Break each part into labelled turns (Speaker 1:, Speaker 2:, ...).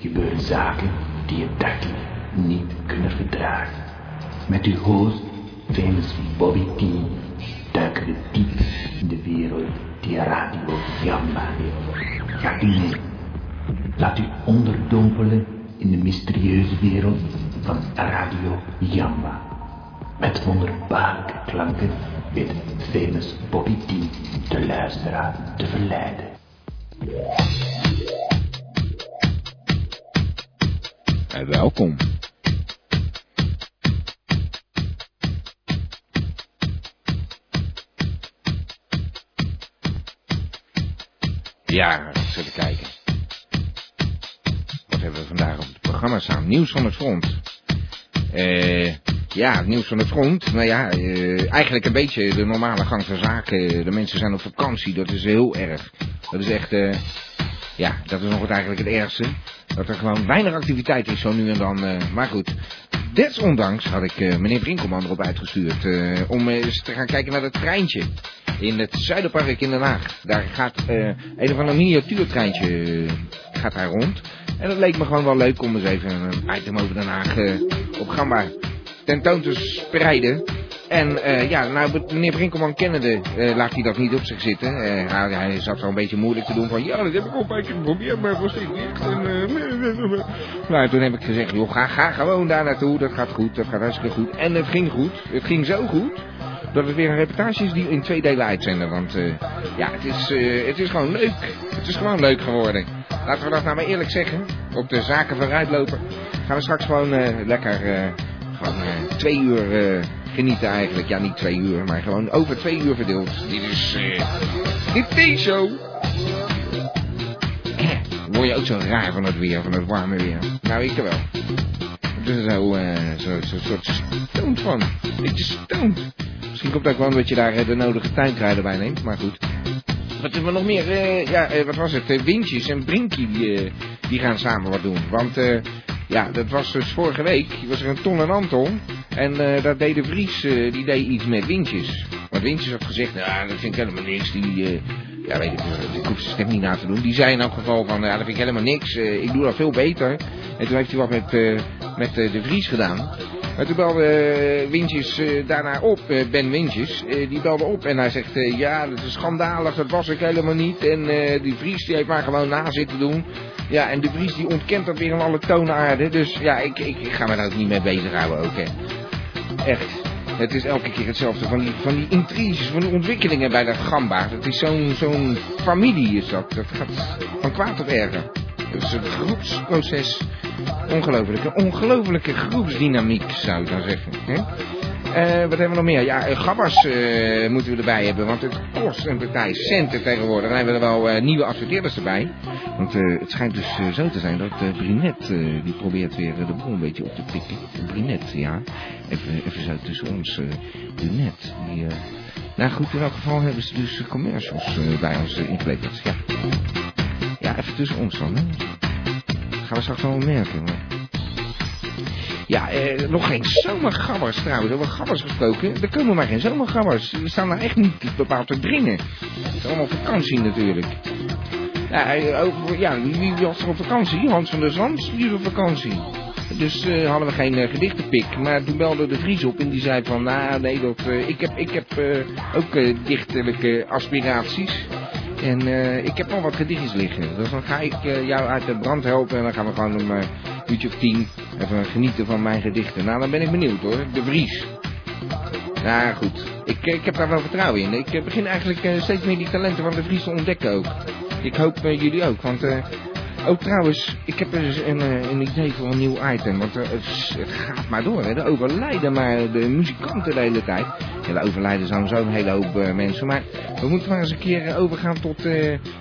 Speaker 1: gebeuren zaken die je dagelijks niet kunnen verdragen. Met uw host, famous Bobby T, duiken we diep in de wereld die Radio Jamba heeft. Gaat u mee. Laat u onderdompelen in de mysterieuze wereld van Radio Jamba. Met wonderbaarlijke klanken weet famous Bobby T de luisteraar te verleiden.
Speaker 2: En welkom. Ja, eens even kijken. Wat hebben we vandaag op het programma staan? Nieuws van het front. Eh, ja, het nieuws van het front. Nou ja, eh, eigenlijk een beetje de normale gang van zaken. De mensen zijn op vakantie, dat is heel erg. Dat is echt, eh, ja, dat is nog het eigenlijk het ergste. Dat er gewoon weinig activiteit is zo nu en dan. eh, maar goed, desondanks had ik eh, meneer Brinkelman erop uitgestuurd eh, om eens te gaan kijken naar dat treintje. In het Zuiderpark in Den Haag. Daar gaat eh een of ander miniatuurtreintje eh, gaat daar rond. En dat leek me gewoon wel leuk om eens even een item over Den Haag eh, op Gamba tentoon te spreiden. En eh, ja, nou, meneer Brinkelman kennende eh, laat hij dat niet op zich zitten. Eh, hij, hij zat zo een beetje moeilijk te doen van... Ja, dat heb ik al een paar keer geprobeerd, maar was dit niet. En,
Speaker 3: é,
Speaker 2: eh, nou, toen heb ik gezegd, joh, ga, ga gewoon daar naartoe. Dat gaat goed, dat gaat hartstikke goed. En het ging goed. Het ging zo goed dat het weer een reportage is die in twee delen uitzenden. Want eh, ja, het is, eh, het is gewoon leuk. Het is gewoon leuk geworden. Laten we dat nou maar eerlijk zeggen. Op de zaken vooruit lopen gaan we straks gewoon eh, lekker... eh, gewoon eh, twee uur eh, genieten eigenlijk. Ja, niet twee uur, maar gewoon over twee uur verdeeld. Dit is eh de T-show. Word je ook zo raar van het weer, van het warme weer? Nou, ik wel. Ik ben er zo, eh, zo, zo, soort stoned van. Beetje stoned. Misschien komt dat ook wel omdat je daar eh, de nodige tuinkruiden bij neemt, maar goed. Wat hebben we nog meer? Eh, ja, eh, wat was het? Eh, Windjes en Brinkie die, eh, die gaan samen wat doen. Want eh, ja, dat was dus vorige week. Was er een Ton en Anton. En eh, daar deed de Vries eh, die deed iets met Windjes. Want Windjes had gezegd, nou, dat vind ik helemaal niks. Die, eh, ja, weet ik, eh, ik hoef zijn stem niet na te doen. Die zei in elk geval van, ja, dat vind ik helemaal niks. Eh, ik doe dat veel beter. En toen heeft hij wat met, eh, met eh, de Vries gedaan. Maar toen belde eh, Wintjes eh, daarna op, eh, Ben Wintjes, eh, die belde op en hij zegt, eh, ja, dat is schandalig, dat was ik helemaal niet. En eh, die Vries die heeft maar gewoon na zitten doen. Ja, en de Vries die ontkent dat weer in alle toonaarden. Dus ja, ik, ik, ik ga me daar ook niet mee bezighouden ook, hè. Echt. Het is elke keer hetzelfde. Van die, van die intriges, van die ontwikkelingen bij dat gamba. Dat is zo'n zo'n familie is dat. Dat gaat van kwaad tot erger. Het is een groepsproces. Ongelooflijke, ongelooflijke groepsdynamiek zou ik dan zeggen. Hè? Eh, wat hebben we nog meer? Ja, eh, gabbas eh, moeten we erbij hebben, want het kost een partij centen tegenwoordig. Dan hebben we er wel eh, nieuwe adverteerders erbij. Want eh, het schijnt dus eh, zo te zijn dat eh Brinet, eh, die probeert weer eh, de boel een beetje op te pikken. Brinet, ja. Even, even zo tussen ons. eh Brinet, die... eh, nou goed, in elk geval hebben ze dus eh, commercials eh, bij ons uh, ingeleverd. Ja. ja, even tussen ons dan, hè gaan we straks wel merken. maar- Ja, eh, nog geen zomergabbers trouwens. Over gabbers gesproken, er komen maar geen zomergabbers. Die staan daar echt niet bepaald te dringen. Het is allemaal vakantie natuurlijk. Ja, eh, over, ja wie wie was er op vakantie? Hans van der Zand, die is op vakantie. Dus eh, hadden we geen eh, gedichtenpik. Maar toen belde de Vries op en die zei van... Nou, nee, dat, eh, ik heb, ik heb eh, ook eh, dichterlijke aspiraties. En eh, ik heb al wat gedichtjes liggen. Dus dan ga ik eh, jou uit de brand helpen. En dan gaan we gewoon om eh uurtje of tien even genieten van mijn gedichten. Nou, dan ben ik benieuwd hoor. De Vries. Nou goed, ik, ik heb daar wel vertrouwen in. Ik eh, begin eigenlijk eh, steeds meer die talenten van de Vries te ontdekken ook. Ik hoop eh, jullie ook, want... eh, ook trouwens, ik heb dus een, eh, een idee voor een nieuw item. Want eh, het, s- het gaat maar door. Hè. Er overlijden maar de muzikanten de hele tijd. Ja, er overlijden sowieso een hele hoop eh, mensen. Maar we moeten maar eens een keer eh, overgaan tot, eh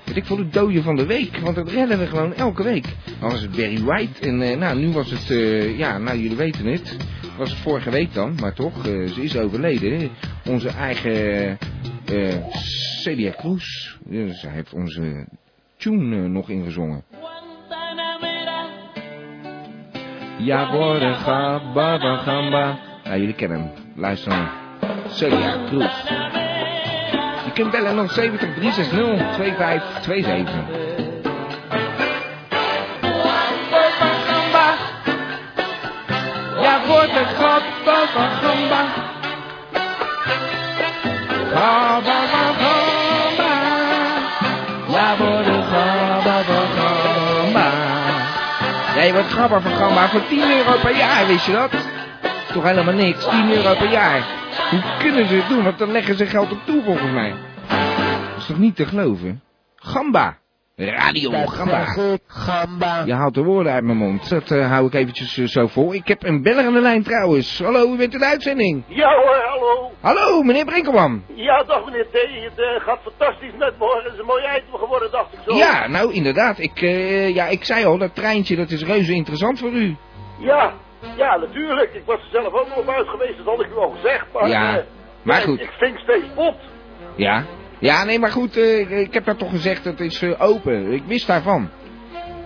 Speaker 2: weet ik veel, de dode van de week. Want dat redden we gewoon elke week. Dan was het Barry White. En eh, nou, nu was het, eh, ja, nou jullie weten het. Was het vorige week dan, maar toch, eh, ze is overleden. hè. Onze eigen eh Celia Cruz. Eh, zij heeft onze tune eh, nog ingezongen. Ja, worden gamba, ba, gamba. Nou, jullie kennen hem. Luister maar. Celia Cruz. Je kunt bellen nog 70 360
Speaker 3: Thank
Speaker 2: 2527. Ba-ba-ba-ba. Ba-ba-ba-ba. Ba-ba-ba-ba-ba. Nee, wat grappig van Gamba. Voor 10 euro per jaar, wist je dat? Toch helemaal niks. 10 euro per jaar. Hoe kunnen ze het doen? Want dan leggen ze geld op toe, volgens mij. Dat is toch niet te geloven? Gamba. Radio Gamba.
Speaker 3: goed, gamba.
Speaker 2: Je haalt de woorden uit mijn mond. Dat eh, hou ik eventjes eh, zo vol. Ik heb een beller aan de lijn trouwens. Hallo, u bent in de uitzending.
Speaker 4: Ja hoor, Nou, eh, hallo.
Speaker 2: Hallo, meneer Brinkelman.
Speaker 4: Ja, dag meneer T. Het eh, gaat fantastisch met morgen. Het is een mooi item geworden, dacht ik zo.
Speaker 2: Ja, nou inderdaad. Ik, eh, ja, ik zei al, dat treintje dat is reuze interessant voor u.
Speaker 4: Ja, ja, natuurlijk. Ik was er zelf ook nog op uit geweest, dat had ik u al gezegd. Maar,
Speaker 2: Ja,
Speaker 4: eh,
Speaker 2: maar
Speaker 4: ja,
Speaker 2: goed.
Speaker 4: Ik, ik vink steeds pot.
Speaker 2: Ja? Ja, nee, maar goed, eh, ik- ik heb dat toch gezegd, dat is eh, open. Ik wist daarvan.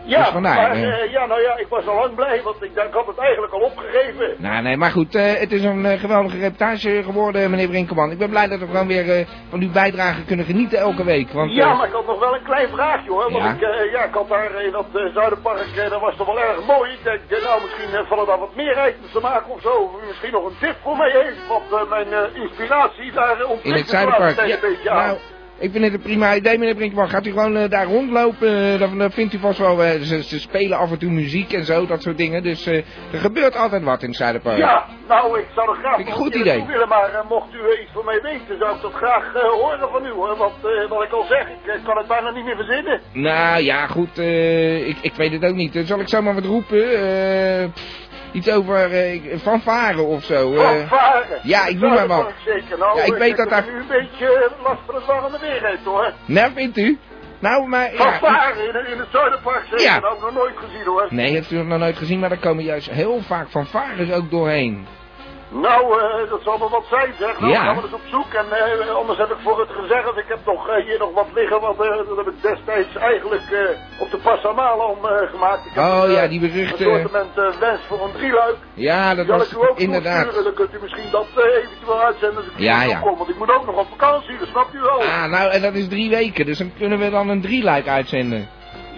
Speaker 4: Ja,
Speaker 2: Dus vandaar,
Speaker 4: maar
Speaker 2: hè.
Speaker 4: eh, ja, nou ja, ik was al lang blij, want ik, ik had het eigenlijk al opgegeven.
Speaker 2: Nou, nee, maar goed, eh, het is een eh, geweldige reportage geworden, meneer Brinkelman. Ik ben blij dat we gewoon weer eh, van uw bijdrage kunnen genieten elke week. Want,
Speaker 4: ja,
Speaker 2: eh,
Speaker 4: maar ik had nog wel een klein vraagje hoor. Want
Speaker 2: Ja.
Speaker 4: ik, eh, ja, ik had daar in dat eh, Zuiderpark, eh, dat was toch wel erg mooi. Ik denk, eh, nou misschien eh, vallen daar wat meer items te maken of zo. Of u misschien nog een tip voor mij heeft, want eh, mijn eh, inspiratie daar uh,
Speaker 2: In het
Speaker 4: ontwikkelt
Speaker 2: Zuiderpark.
Speaker 4: een
Speaker 2: Ja,
Speaker 4: beetje aan.
Speaker 2: nou, ik vind het een prima idee, meneer Brinkman. Gaat u gewoon eh, daar rondlopen? eh, dan, dan vindt u vast wel. eh, ze, ze spelen af en toe muziek en zo, dat soort dingen. Dus eh, er gebeurt altijd wat in het Zuiderpark.
Speaker 4: Ja, nou, ik zou er graag
Speaker 2: Vind ik
Speaker 4: nog
Speaker 2: een goed
Speaker 4: een keer
Speaker 2: idee.
Speaker 4: naartoe willen, maar eh, mocht u eh, iets van mij weten, zou ik dat graag eh, horen van u, hoor. Want eh, wat ik al zeg, ik eh, kan het bijna niet meer verzinnen.
Speaker 2: Nou ja, goed. eh, ik, ik weet het ook niet. Eh, Zal ik zomaar wat roepen? Eh, pff, iets over eh fanfare of zo. eh.
Speaker 4: Van varen.
Speaker 2: ja, ik noem maar wat.
Speaker 4: Dat kan ik Zeker, nou,
Speaker 2: Ja, ik weet
Speaker 4: heb
Speaker 2: dat daar-
Speaker 4: nu een beetje eh, last van het warme weer heeft, hoor.
Speaker 2: nou, vindt u? Nou, maar.
Speaker 4: Van
Speaker 2: Ja,
Speaker 4: varen in, in het Zuiderpark, zeker.
Speaker 2: Ja.
Speaker 4: Dat heb ik nog nooit gezien, hoor.
Speaker 2: nee, dat heb u nog nooit gezien, maar daar komen juist heel vaak fanfares ook doorheen.
Speaker 4: Nou, eh, dat zal wel wat zijn, zeg. Nou,
Speaker 2: Ja.
Speaker 4: gaan we dus op zoek. En eh, anders heb ik voor het gezegd, ik heb nog, eh, hier nog wat liggen, want eh, dat heb ik destijds eigenlijk eh, op de Passamalen eh gemaakt. Ik heb
Speaker 2: Oh
Speaker 4: een,
Speaker 2: ja,
Speaker 4: eh,
Speaker 2: die beruchte-
Speaker 4: Een soort moment, eh, wens voor een drieluik.
Speaker 2: Ja,
Speaker 4: Die
Speaker 2: dat
Speaker 4: zal
Speaker 2: was
Speaker 4: ik u ook
Speaker 2: inderdaad.
Speaker 4: toesturen, dan kunt u misschien dat eh, eventueel uitzenden als ik
Speaker 2: Ja,
Speaker 4: hier
Speaker 2: ja.
Speaker 4: kom. Want ik moet ook nog op vakantie, dat snapt u wel.
Speaker 2: Ah, nou, en dat is drie weken, dus dan kunnen we dan een drie-like uitzenden.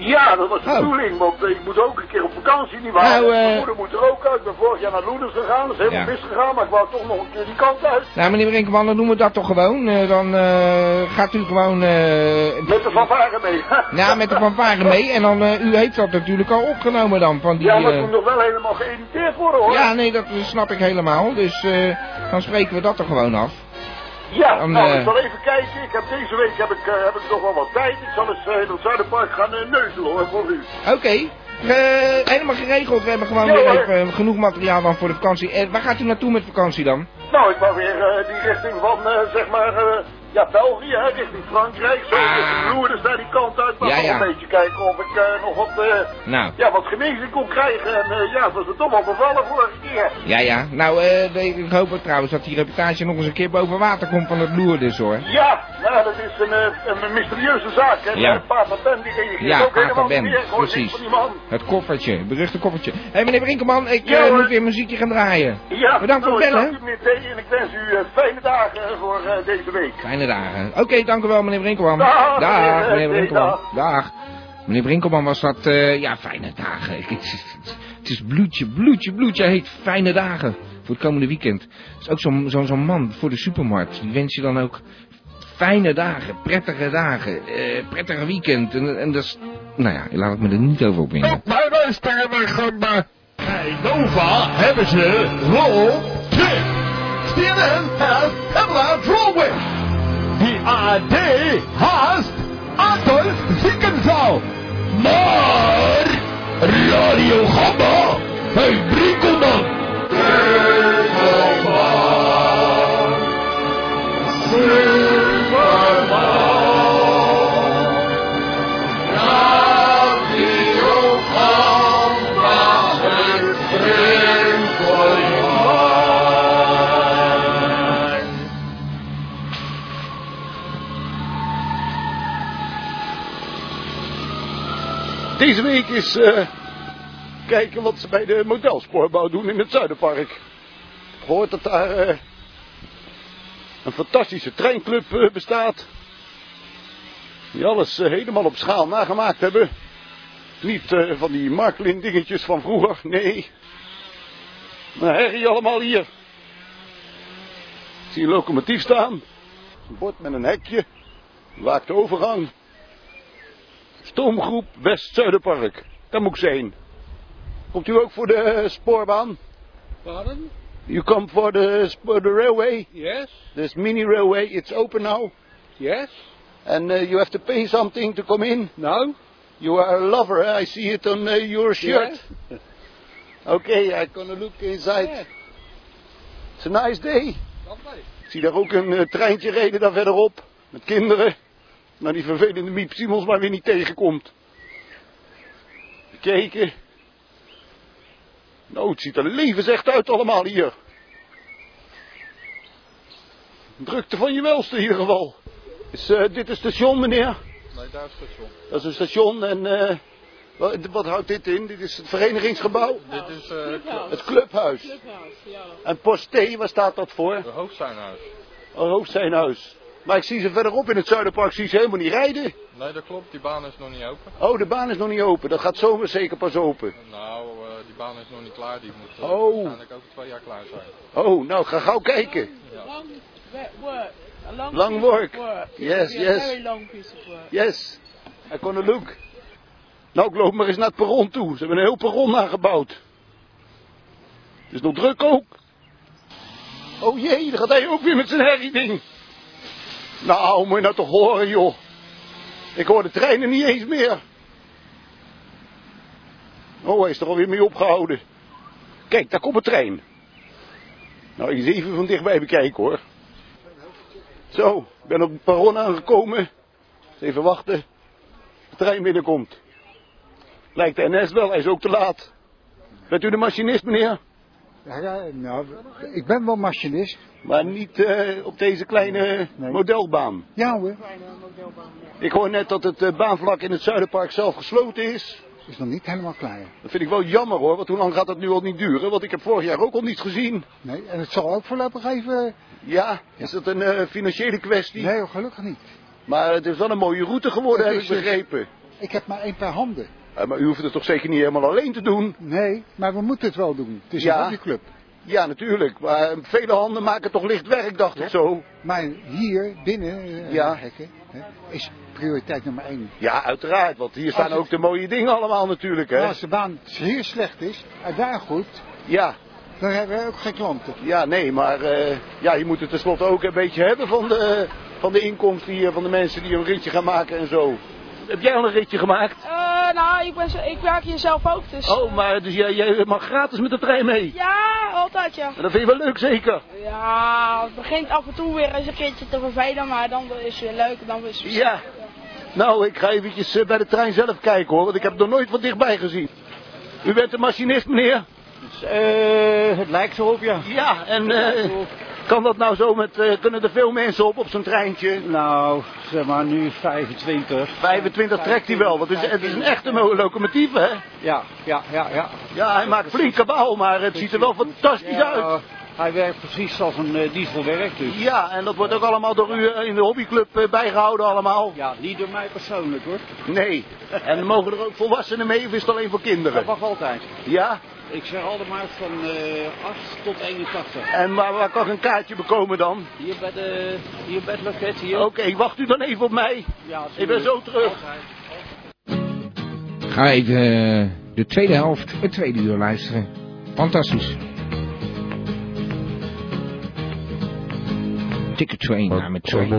Speaker 4: Ja, dat was de
Speaker 2: Oh.
Speaker 4: bedoeling, want eh, ik moet ook een keer op vakantie, niet waar?
Speaker 2: Nou, eh,
Speaker 4: Mijn moeder moet er ook uit. Ik ben vorig jaar naar Loeders gegaan, dat is helemaal
Speaker 2: Ja.
Speaker 4: misgegaan, maar ik wou toch nog een keer die kant uit.
Speaker 2: Nou, meneer Brinkman, dan doen we dat toch gewoon. Eh, dan eh, gaat u gewoon... eh,
Speaker 4: Met de fanfare mee.
Speaker 2: nou, met de fanfare mee. En dan, eh, u heeft dat natuurlijk al opgenomen dan, van die...
Speaker 4: Ja, maar
Speaker 2: eh,
Speaker 4: het moet nog wel helemaal geëditeerd worden hoor.
Speaker 2: ja, nee, dat eh, snap ik helemaal. Dus eh, dan spreken we dat er gewoon af.
Speaker 4: Ja,
Speaker 2: Dan,
Speaker 4: nou,
Speaker 2: eh,
Speaker 4: ik zal even kijken. Ik heb deze week heb ik, eh, heb ik nog wel wat tijd. Ik zal eens eh, in het Zuiderpark gaan eh, neuzelen hoor, voor u.
Speaker 2: Oké. Eh, helemaal geregeld. We hebben gewoon
Speaker 4: Ja,
Speaker 2: weer
Speaker 4: hoor.
Speaker 2: even eh, genoeg materiaal dan voor de vakantie. Eh, waar gaat u naartoe met vakantie dan?
Speaker 4: Nou, ik wou weer eh, die richting van, eh, zeg maar, eh, ja, België, hè, richting Frankrijk. Zo,
Speaker 2: Ah.
Speaker 4: richting Loerders naar die kant uit. Maar
Speaker 2: Ja,
Speaker 4: nog
Speaker 2: ja.
Speaker 4: een beetje kijken of ik eh, nog wat, eh,
Speaker 2: Nou,
Speaker 4: ja, wat genezing kon krijgen. En eh, ja, het was me toch wel bevallen vorige keer.
Speaker 2: ja, ja. Nou, eh, de- ik hoop ook trouwens dat die reportage nog eens een keer boven water komt van het loer dus, hoor.
Speaker 4: Ja, nou, dat is een, eh, een mysterieuze zaak, hè.
Speaker 2: Ja.
Speaker 4: Ja. Pa van Ben, die reageert
Speaker 2: Ja,
Speaker 4: ook
Speaker 2: Pa
Speaker 4: helemaal
Speaker 2: van
Speaker 4: niet
Speaker 2: Ben,
Speaker 4: meer. Ik hoor niks
Speaker 2: precies.
Speaker 4: van die man.
Speaker 2: Het koffertje, het beruchte koffertje. Hé meneer Brinkelman, ik
Speaker 4: Ja,
Speaker 2: eh,
Speaker 4: hoor.
Speaker 2: moet weer muziekje gaan draaien.
Speaker 4: Ja,
Speaker 2: Bedankt voor
Speaker 4: nou,
Speaker 2: het
Speaker 4: ik
Speaker 2: bellen.
Speaker 4: dank u, meneer T. En ik wens u eh, fijne dagen eh, voor eh, deze week.
Speaker 2: Fijne dagen. Oké, dank u wel meneer Brinkelman.
Speaker 4: Dag, meneer, eh,
Speaker 2: meneer Brinkelman.
Speaker 4: dag.
Speaker 2: Dag. Meneer Brinkelman was dat, eh, ja, fijne dagen. Ik- Het is, het is bloedje, bloedje, bloedje. Hij heet fijne dagen voor het komende weekend. Dat is ook zo'n zo'n zo'n man voor de supermarkt. Die wens je dan ook fijne dagen, prettige dagen, eh prettige weekend. En, en dat is, nou ja, laat ik me er niet over opwinden.
Speaker 3: Bij luisteren naar gamba. Bij Nova hebben ze Roll Trip. CNN has Pamela Drolwig. The AD has Adolf Ziekenzaal. Maar Radio Gamba bij Brinkelman.
Speaker 4: Deze week is eh, kijken wat ze bij de modelspoorweg doen in het Zuiderpark. Hoort dat daar eh, een fantastische treinclub eh, bestaat. Die alles eh, helemaal op schaal nagemaakt hebben. Niet eh, van die Marklin dingetjes van vroeger, nee. Maar herrie allemaal hier.
Speaker 5: Ik zie een locomotief staan. Een bord met een hekje. Waakt de overgang. Stoomgroep West-Zuiderpark. Daar moet ik ze heen. Komt u ook voor de eh, spoorbaan?
Speaker 6: Pardon?
Speaker 5: You come for the, sp- the railway?
Speaker 6: Yes?
Speaker 5: This mini railway, it's open now.
Speaker 6: Yes?
Speaker 5: And uh, you have to pay something to come in.
Speaker 6: No?
Speaker 5: You are a lover, eh? I see it on uh, your shirt.
Speaker 6: Yes?
Speaker 5: Okay, I'm gonna look inside.
Speaker 6: Yeah.
Speaker 5: It's a nice day.
Speaker 6: Lovely.
Speaker 5: Ik zie daar ook een eh, treintje reden daar verderop. Met kinderen. Nou, die vervelende Miep Simons maar weer niet tegenkomt. Gekeken. Nou, het ziet er levensrecht uit allemaal hier. Drukte van je welste in ieder geval. Is eh, dit een station, meneer?
Speaker 6: Nee, daar is station.
Speaker 5: Dat is een station en... eh, wa- wat houdt dit in? Dit is het verenigingsgebouw.
Speaker 6: Dit is eh
Speaker 5: Het
Speaker 7: Clubhouse,
Speaker 5: clubhuis.
Speaker 7: ja.
Speaker 5: En Post T, waar staat dat voor?
Speaker 6: de hoofdtuinhuis.
Speaker 5: Een hoofdsteenhuis. Maar ik zie ze verderop in het Zuiderpark zie ik ze helemaal niet rijden.
Speaker 6: Nee, dat klopt. Die baan is nog niet open.
Speaker 5: Oh, de baan is nog niet open. Dat gaat zomaar zeker pas open.
Speaker 6: Nou, eh, die baan is nog niet klaar. Die moet eh,
Speaker 5: Oh.
Speaker 6: waarschijnlijk over twee jaar klaar zijn.
Speaker 5: Oh, nou, ga gauw kijken.
Speaker 7: Long we- work. A long,
Speaker 5: Long
Speaker 7: piece
Speaker 5: work.
Speaker 7: Of work.
Speaker 5: Yes,
Speaker 7: It'll be
Speaker 5: yes.
Speaker 7: A very long piece of work.
Speaker 5: Yes, I gonna look. Nou, ik loop maar eens naar het perron toe. Ze hebben een heel perron aangebouwd. Het is nog druk ook. Oh jee, daar gaat hij ook weer met zijn herrieding. Nou, moet je nou toch horen, joh. Ik hoor de treinen niet eens meer. Oh, hij is er alweer mee opgehouden. Kijk, daar komt een trein. Nou, eens even van dichtbij bekijken, hoor. Zo, ik ben op het perron aangekomen. Even wachten. De trein binnenkomt. Lijkt de NS wel, hij is ook te laat. Bent u de machinist, meneer?
Speaker 8: Ja, ja, nou, ik ben wel machinist.
Speaker 5: Maar niet eh, op deze kleine
Speaker 8: Nee.
Speaker 5: modelbaan.
Speaker 8: Ja hoor,
Speaker 5: Ik hoor net dat het eh, baanvlak in het Zuiderpark zelf gesloten is.
Speaker 8: is nog niet helemaal klaar.
Speaker 5: Dat vind ik wel jammer hoor, want hoe lang gaat dat nu al niet duren? Want ik heb vorig jaar ook al niet gezien.
Speaker 8: Nee, en het zal ook voorlopig even...
Speaker 5: Ja, is dat een eh, financiële kwestie?
Speaker 8: Nee, hoor, gelukkig niet.
Speaker 5: Maar het is wel een mooie route geworden,
Speaker 8: Het
Speaker 5: heb ik
Speaker 8: is, eh,
Speaker 5: begrepen.
Speaker 8: Ik heb maar één paar handen.
Speaker 5: Eh, maar u hoeft het toch zeker niet helemaal alleen te doen?
Speaker 8: Nee, maar we moeten het wel doen. Het is
Speaker 5: Ja.
Speaker 8: een hobbyclub.
Speaker 5: Ja, natuurlijk. Maar eh, vele handen maken toch licht werk, dacht ik zo.
Speaker 8: Maar hier, binnen, eh,
Speaker 5: Ja.
Speaker 8: hekken, hè, is prioriteit nummer één.
Speaker 5: Ja, uiteraard, want hier staan
Speaker 8: Als het-
Speaker 5: ook de mooie dingen allemaal natuurlijk, hè?
Speaker 8: Als de baan hier slecht is, en daar goed,
Speaker 5: Ja,
Speaker 8: dan hebben we ook geen klanten.
Speaker 5: ja, nee, maar eh, ja, je moet het tenslotte ook een beetje hebben van de, eh, van de inkomsten hier, van de mensen die een ritje gaan maken en zo. Heb jij al een ritje gemaakt?
Speaker 7: Eh, nou, ik, ben, zo- ik werk hier zelf ook, dus...
Speaker 5: Oh,
Speaker 7: eh,
Speaker 5: maar dus jij, jij mag gratis met de trein mee.
Speaker 7: Ja, altijd ja.
Speaker 5: En dat vind je wel leuk, zeker?
Speaker 7: Ja, het begint af en toe weer eens een keertje te vervelen, maar dan is het weer leuk en dan is het...
Speaker 5: Ja. Nou, ik ga eventjes eh, bij de trein zelf kijken hoor, want ik heb het nog nooit van dichtbij gezien. U bent een machinist, meneer?
Speaker 8: Dus, eh, het lijkt zo op, ja.
Speaker 5: Ja, en eh, kan dat nou zo met, eh, kunnen er veel mensen op, op zo'n treintje?
Speaker 8: Nou, zeg maar nu 25.
Speaker 5: 25 trekt hij wel, want het is, het is een echte mo- locomotief, hè?
Speaker 8: Ja, ja, ja, ja.
Speaker 5: Ja, hij maakt flink kabaal, maar het ziet er wel fantastisch uit.
Speaker 8: hij werkt precies zoals een diesel werkt dus.
Speaker 5: Ja, en dat wordt ook allemaal door u eh, in de hobbyclub eh, bijgehouden allemaal.
Speaker 8: Ja, niet door mij persoonlijk hoor.
Speaker 5: Nee. En mogen er ook volwassenen mee of is het alleen voor
Speaker 8: Dat
Speaker 5: kinderen?
Speaker 8: mag altijd.
Speaker 5: Ja?
Speaker 8: Ik zeg altijd maar van eh 8 tot 81.
Speaker 5: En waar, waar kan ik een kaartje bekomen dan?
Speaker 8: Hier bij, de, hier bij het loket hier.
Speaker 5: Oké, wacht u dan even op mij.
Speaker 8: Ja,
Speaker 5: Ik ben zo terug.
Speaker 2: Ga even eh, de tweede helft, het tweede uur luisteren. Fantastisch. Ticket train naar mijn train.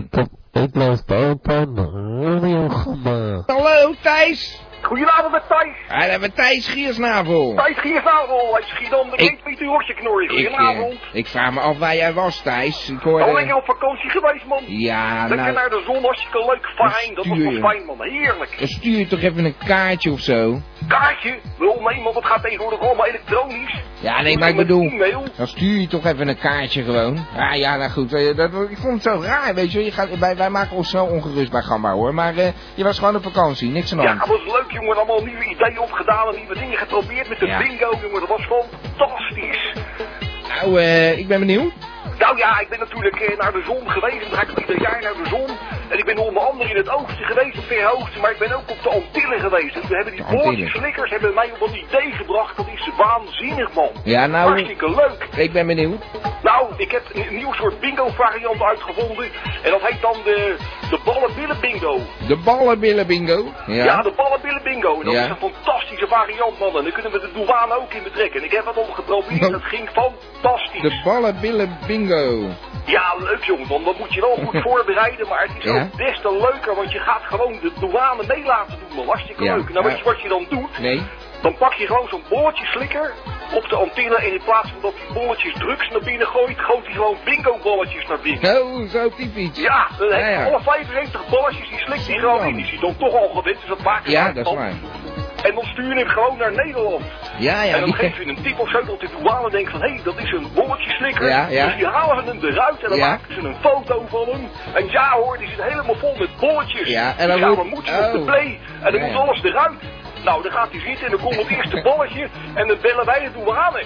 Speaker 9: Ik blijf bij een radiogamma.
Speaker 2: Hallo Thijs!
Speaker 10: Goedenavond met Thijs.
Speaker 2: Hij hebben Thijs Giersnavel.
Speaker 10: Thijs Giersnavel uit Schiedam. De
Speaker 2: Ik-
Speaker 10: kind met uw hortje knor.
Speaker 2: Ik, eh,
Speaker 10: Goedenavond. Oh,
Speaker 2: ik vraag me af waar jij was Thijs. Ik hoorde...
Speaker 10: Al lekker op vakantie geweest, man.
Speaker 2: Ja,
Speaker 10: lekker
Speaker 2: nou,
Speaker 10: naar de zon. Hartstikke leuk. Fijn. Dat was
Speaker 2: stuur
Speaker 10: toch
Speaker 2: je.
Speaker 10: fijn, man. Heerlijk.
Speaker 2: dan stuur je toch even een kaartje of zo?
Speaker 10: Kaartje? Wel, nee, man. Dat gaat tegenwoordig allemaal elektronisch.
Speaker 2: Ja, nee,
Speaker 10: Moet
Speaker 2: maar ik
Speaker 10: met
Speaker 2: bedoel...
Speaker 10: e-mail.
Speaker 2: Dan stuur je toch even een kaartje gewoon. Ja, ja, nou goed. eh, Dat, ik vond het zo raar, weet je. wel. Je gaat, wij, wij maken ons zo ongerust bij Gamba, hoor. Maar eh, je was gewoon op vakantie, niks aan de
Speaker 10: Ja,
Speaker 2: hand.
Speaker 10: dat was leuk, jongen. Allemaal nieuwe ideeën opgedaan en nieuwe dingen geprobeerd met de
Speaker 2: Ja.
Speaker 10: bingo, jongen. Dat was fantastisch.
Speaker 2: Nou, eh, ik ben benieuwd.
Speaker 10: Nou ja, ik ben natuurlijk eh, naar de zon geweest. Dan ga ik ieder jaar naar de zon. En ik ben onder andere in het oogsten geweest op Verhoogte, maar ik ben ook op de Antillen geweest. En toen hebben die
Speaker 2: De Antillen.
Speaker 10: boordjes slikkers hebben mij op een idee gebracht. Dat is waanzinnig, man.
Speaker 2: Ja, nou-
Speaker 10: Hartstikke leuk.
Speaker 2: Ik ben benieuwd.
Speaker 10: Nou, ik heb een nieuw soort bingo-variant uitgevonden. En dat heet dan de, de ballenbillen-bingo.
Speaker 2: De ballenbillen bingo.
Speaker 10: Ja.
Speaker 2: Ja.
Speaker 10: de ballenbillen bingo. En dat
Speaker 2: Ja.
Speaker 10: is een fantastische variant, man. En daar kunnen we de douane ook in betrekken. En ik heb dat al geprobeerd. Dat ging fantastisch.
Speaker 2: De ballenbillen bingo.
Speaker 10: Ja, leuk jongen. Want dat moet je wel goed voorbereiden. Maar het is
Speaker 2: Ja.
Speaker 10: ook des te leuker. Want je gaat gewoon de douane mee laten doen, man. Hartstikke
Speaker 2: Ja.
Speaker 10: leuk. En dan
Speaker 2: Ja.
Speaker 10: weet je wat je dan doet.
Speaker 2: Nee.
Speaker 10: Dan pak je gewoon zo'n bolletje slikker op de antenne. En in plaats van dat die bolletjes drugs naar binnen gooit, gooit hij gewoon bingo-bolletjes naar binnen.
Speaker 2: Zo, zo typisch.
Speaker 10: Ja, dan heb je
Speaker 2: ja.
Speaker 10: alle 75 bolletjes die slikt hij gewoon in. Die is hij dan toch al gewend, dus dat maakt
Speaker 2: Ja,
Speaker 10: het
Speaker 2: dat
Speaker 10: uit, man.
Speaker 2: is waar.
Speaker 10: En dan stuur je hem gewoon naar Nederland.
Speaker 2: Ja, ja.
Speaker 10: en dan
Speaker 2: die-
Speaker 10: geef je een tip of zo dat de douane denkt van... hé, hey, dat is een bolletje slikker.
Speaker 2: Ja, ja.
Speaker 10: Dus die halen hem eruit en dan
Speaker 2: Ja.
Speaker 10: maken ze een foto van hem. En ja hoor, die zit helemaal vol met bolletjes.
Speaker 2: Ja, en dan
Speaker 10: die gaan
Speaker 2: moet-
Speaker 10: maar moeten op
Speaker 2: oh.
Speaker 10: de play. En dan
Speaker 2: Ja,
Speaker 10: moet
Speaker 2: ja.
Speaker 10: alles eruit. Nou, dan gaat hij zitten en dan komt het eerste bolletje. En dan bellen wij de douane.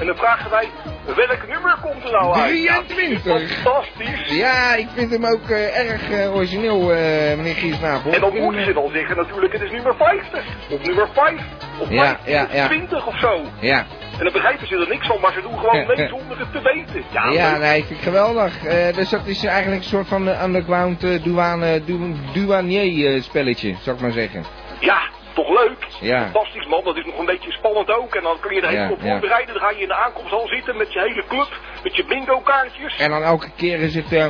Speaker 10: En dan vragen wij, welk nummer komt er nou uit? Ja, dat is
Speaker 2: 23.
Speaker 10: Fantastisch.
Speaker 2: Ja, ik vind hem ook eh, erg eh, origineel, eh, meneer Giesnapel.
Speaker 10: En dan moeten ze dan zeggen natuurlijk, het is nummer 50. Of nummer 5. Of
Speaker 2: Ja, ja, ja.
Speaker 10: 20 of zo.
Speaker 2: Ja,
Speaker 10: En dan begrijpen ze er niks van, maar ze doen gewoon mee zonder het te weten. Ja,
Speaker 2: ja
Speaker 10: leuk.
Speaker 2: nee, ik vind het geweldig. Eh, dus dat is eigenlijk een soort van eh, underground eh, douane, du douanier eh, spelletje, zou ik maar zeggen.
Speaker 10: ja toch leuk.
Speaker 2: Ja.
Speaker 10: Fantastisch man, dat is nog een beetje spannend ook. En dan kun je er
Speaker 2: Ja,
Speaker 10: helemaal op
Speaker 2: ja.
Speaker 10: voorbereiden. Dan ga je in de aankomsthal zitten met je hele club, met je bingo kaartjes.
Speaker 2: En dan elke keer is het... eh,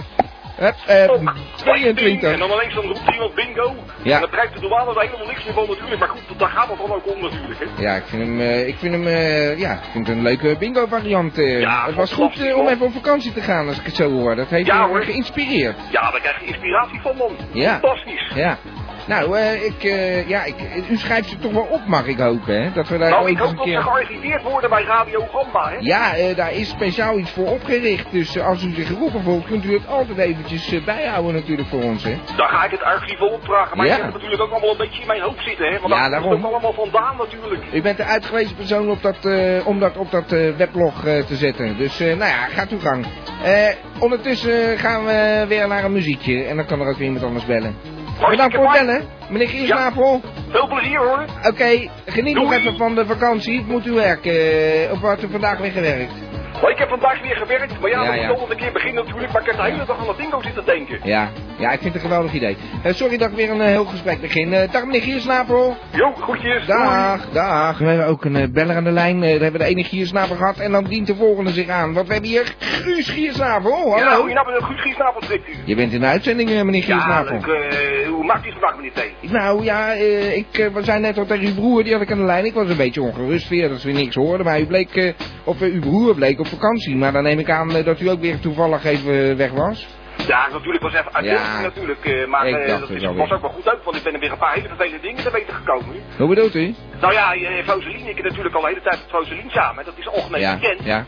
Speaker 2: hup, eh,
Speaker 10: Oh,
Speaker 2: 22.
Speaker 10: En dan ineens dan roept iemand bingo.
Speaker 2: Ja.
Speaker 10: En dan begrijpt de douane er helemaal niks meer van natuurlijk. Maar goed, daar gaat het dan ook om natuurlijk. Hè.
Speaker 2: Ja, ik vind hem, eh, ik vind hem, eh, ja, ik vind het een leuke bingo variant. eh.
Speaker 10: Ja,
Speaker 2: het was goed
Speaker 10: fantastisch,
Speaker 2: eh, om
Speaker 10: hoor.
Speaker 2: even op vakantie te gaan, als ik het zo hoor. Dat heeft
Speaker 10: Ja,
Speaker 2: me
Speaker 10: hoor.
Speaker 2: geïnspireerd.
Speaker 10: Ja, daar krijg je inspiratie van man.
Speaker 2: Ja.
Speaker 10: Fantastisch.
Speaker 2: Ja. Nou, eh, ik, eh, ja, ik, u schrijft ze toch wel op, mag ik hopen, hè? Dat we daar
Speaker 10: nou,
Speaker 2: ooit
Speaker 10: ik
Speaker 2: eens
Speaker 10: hoop
Speaker 2: een
Speaker 10: dat ze
Speaker 2: keer...
Speaker 10: gearriveerd worden bij Radio Gamba, hè?
Speaker 2: Ja, eh, daar is speciaal iets voor opgericht. Dus eh, als u zich geroepen voelt, kunt u het altijd eventjes eh, bijhouden natuurlijk voor ons, hè?
Speaker 10: Daar ga ik het archief wel opvragen. Maar
Speaker 2: Ja.
Speaker 10: ik heb het natuurlijk ook allemaal een beetje in mijn hoofd zitten, hè? Want
Speaker 2: Ja,
Speaker 10: daar komt
Speaker 2: daarom.
Speaker 10: het ook allemaal vandaan natuurlijk.
Speaker 2: U bent de uitgewezen persoon op dat, eh, om dat op dat eh, weblog eh, te zetten. Dus eh, nou ja, gaat uw gang. Eh, ondertussen eh, gaan we weer naar een muziekje. En dan kan er ook weer iemand anders bellen. Bedankt voor het
Speaker 10: fijn.
Speaker 2: bellen, meneer Giersnavel.
Speaker 10: Veel plezier hoor.
Speaker 2: Oké, geniet nog
Speaker 10: Doei.
Speaker 2: even van de vakantie. Het moet u werken. Op wat u vandaag weer gewerkt.
Speaker 10: Maar ik heb vandaag weer gewerkt. Maar ja,
Speaker 2: Ja,
Speaker 10: dat
Speaker 2: ja.
Speaker 10: moet nog een keer beginnen natuurlijk. Maar ik heb de hele dag aan dat bingo zitten denken.
Speaker 2: Ja, ja ik vind het een geweldig idee. Eh, sorry dat ik weer een eh, heel gesprek begin. Eh, dag meneer Giersnavel.
Speaker 10: Jo, groetjes. Doei.
Speaker 2: Dag, dag. We hebben ook een eh, beller aan de lijn. Eh, daar hebben we de ene Giersnavel gehad. En dan dient de volgende zich aan. Want we hebben hier Guus Giersnavel. Hallo.
Speaker 10: Ja, hoe je nou met een goed giesnapel trekt u.
Speaker 2: Je bent in de uitzending, eh, meneer
Speaker 10: Ja,
Speaker 2: Giersnavel.
Speaker 10: leuk. eh, hoe maakt u het vandaag, meneer T?
Speaker 2: nou ja, eh, ik eh, we zijn net al tegen uw broer, die had ik aan de lijn. Ik was een beetje ongerust weer dat we niks hoorden. Maar u bleek, eh, of eh, uw broer bleek op vakantie. Maar dan neem ik aan eh, dat u ook weer toevallig even eh, weg was.
Speaker 10: Ja, natuurlijk was even uit
Speaker 2: Ja.
Speaker 10: natuurlijk. eh, maar
Speaker 2: Ik
Speaker 10: eh,
Speaker 2: dacht
Speaker 10: dat
Speaker 2: het
Speaker 10: is,
Speaker 2: wel
Speaker 10: was
Speaker 2: weer.
Speaker 10: ook wel goed uit, want ik ben er weer een paar hele vervelende dingen te weten gekomen.
Speaker 2: Hoe bedoelt u?
Speaker 10: Nou ja, eh, Foseline, ik heb natuurlijk al de hele tijd met Foseline samen. hè. Dat is algemeen
Speaker 2: ja,
Speaker 10: bekend.
Speaker 2: ja.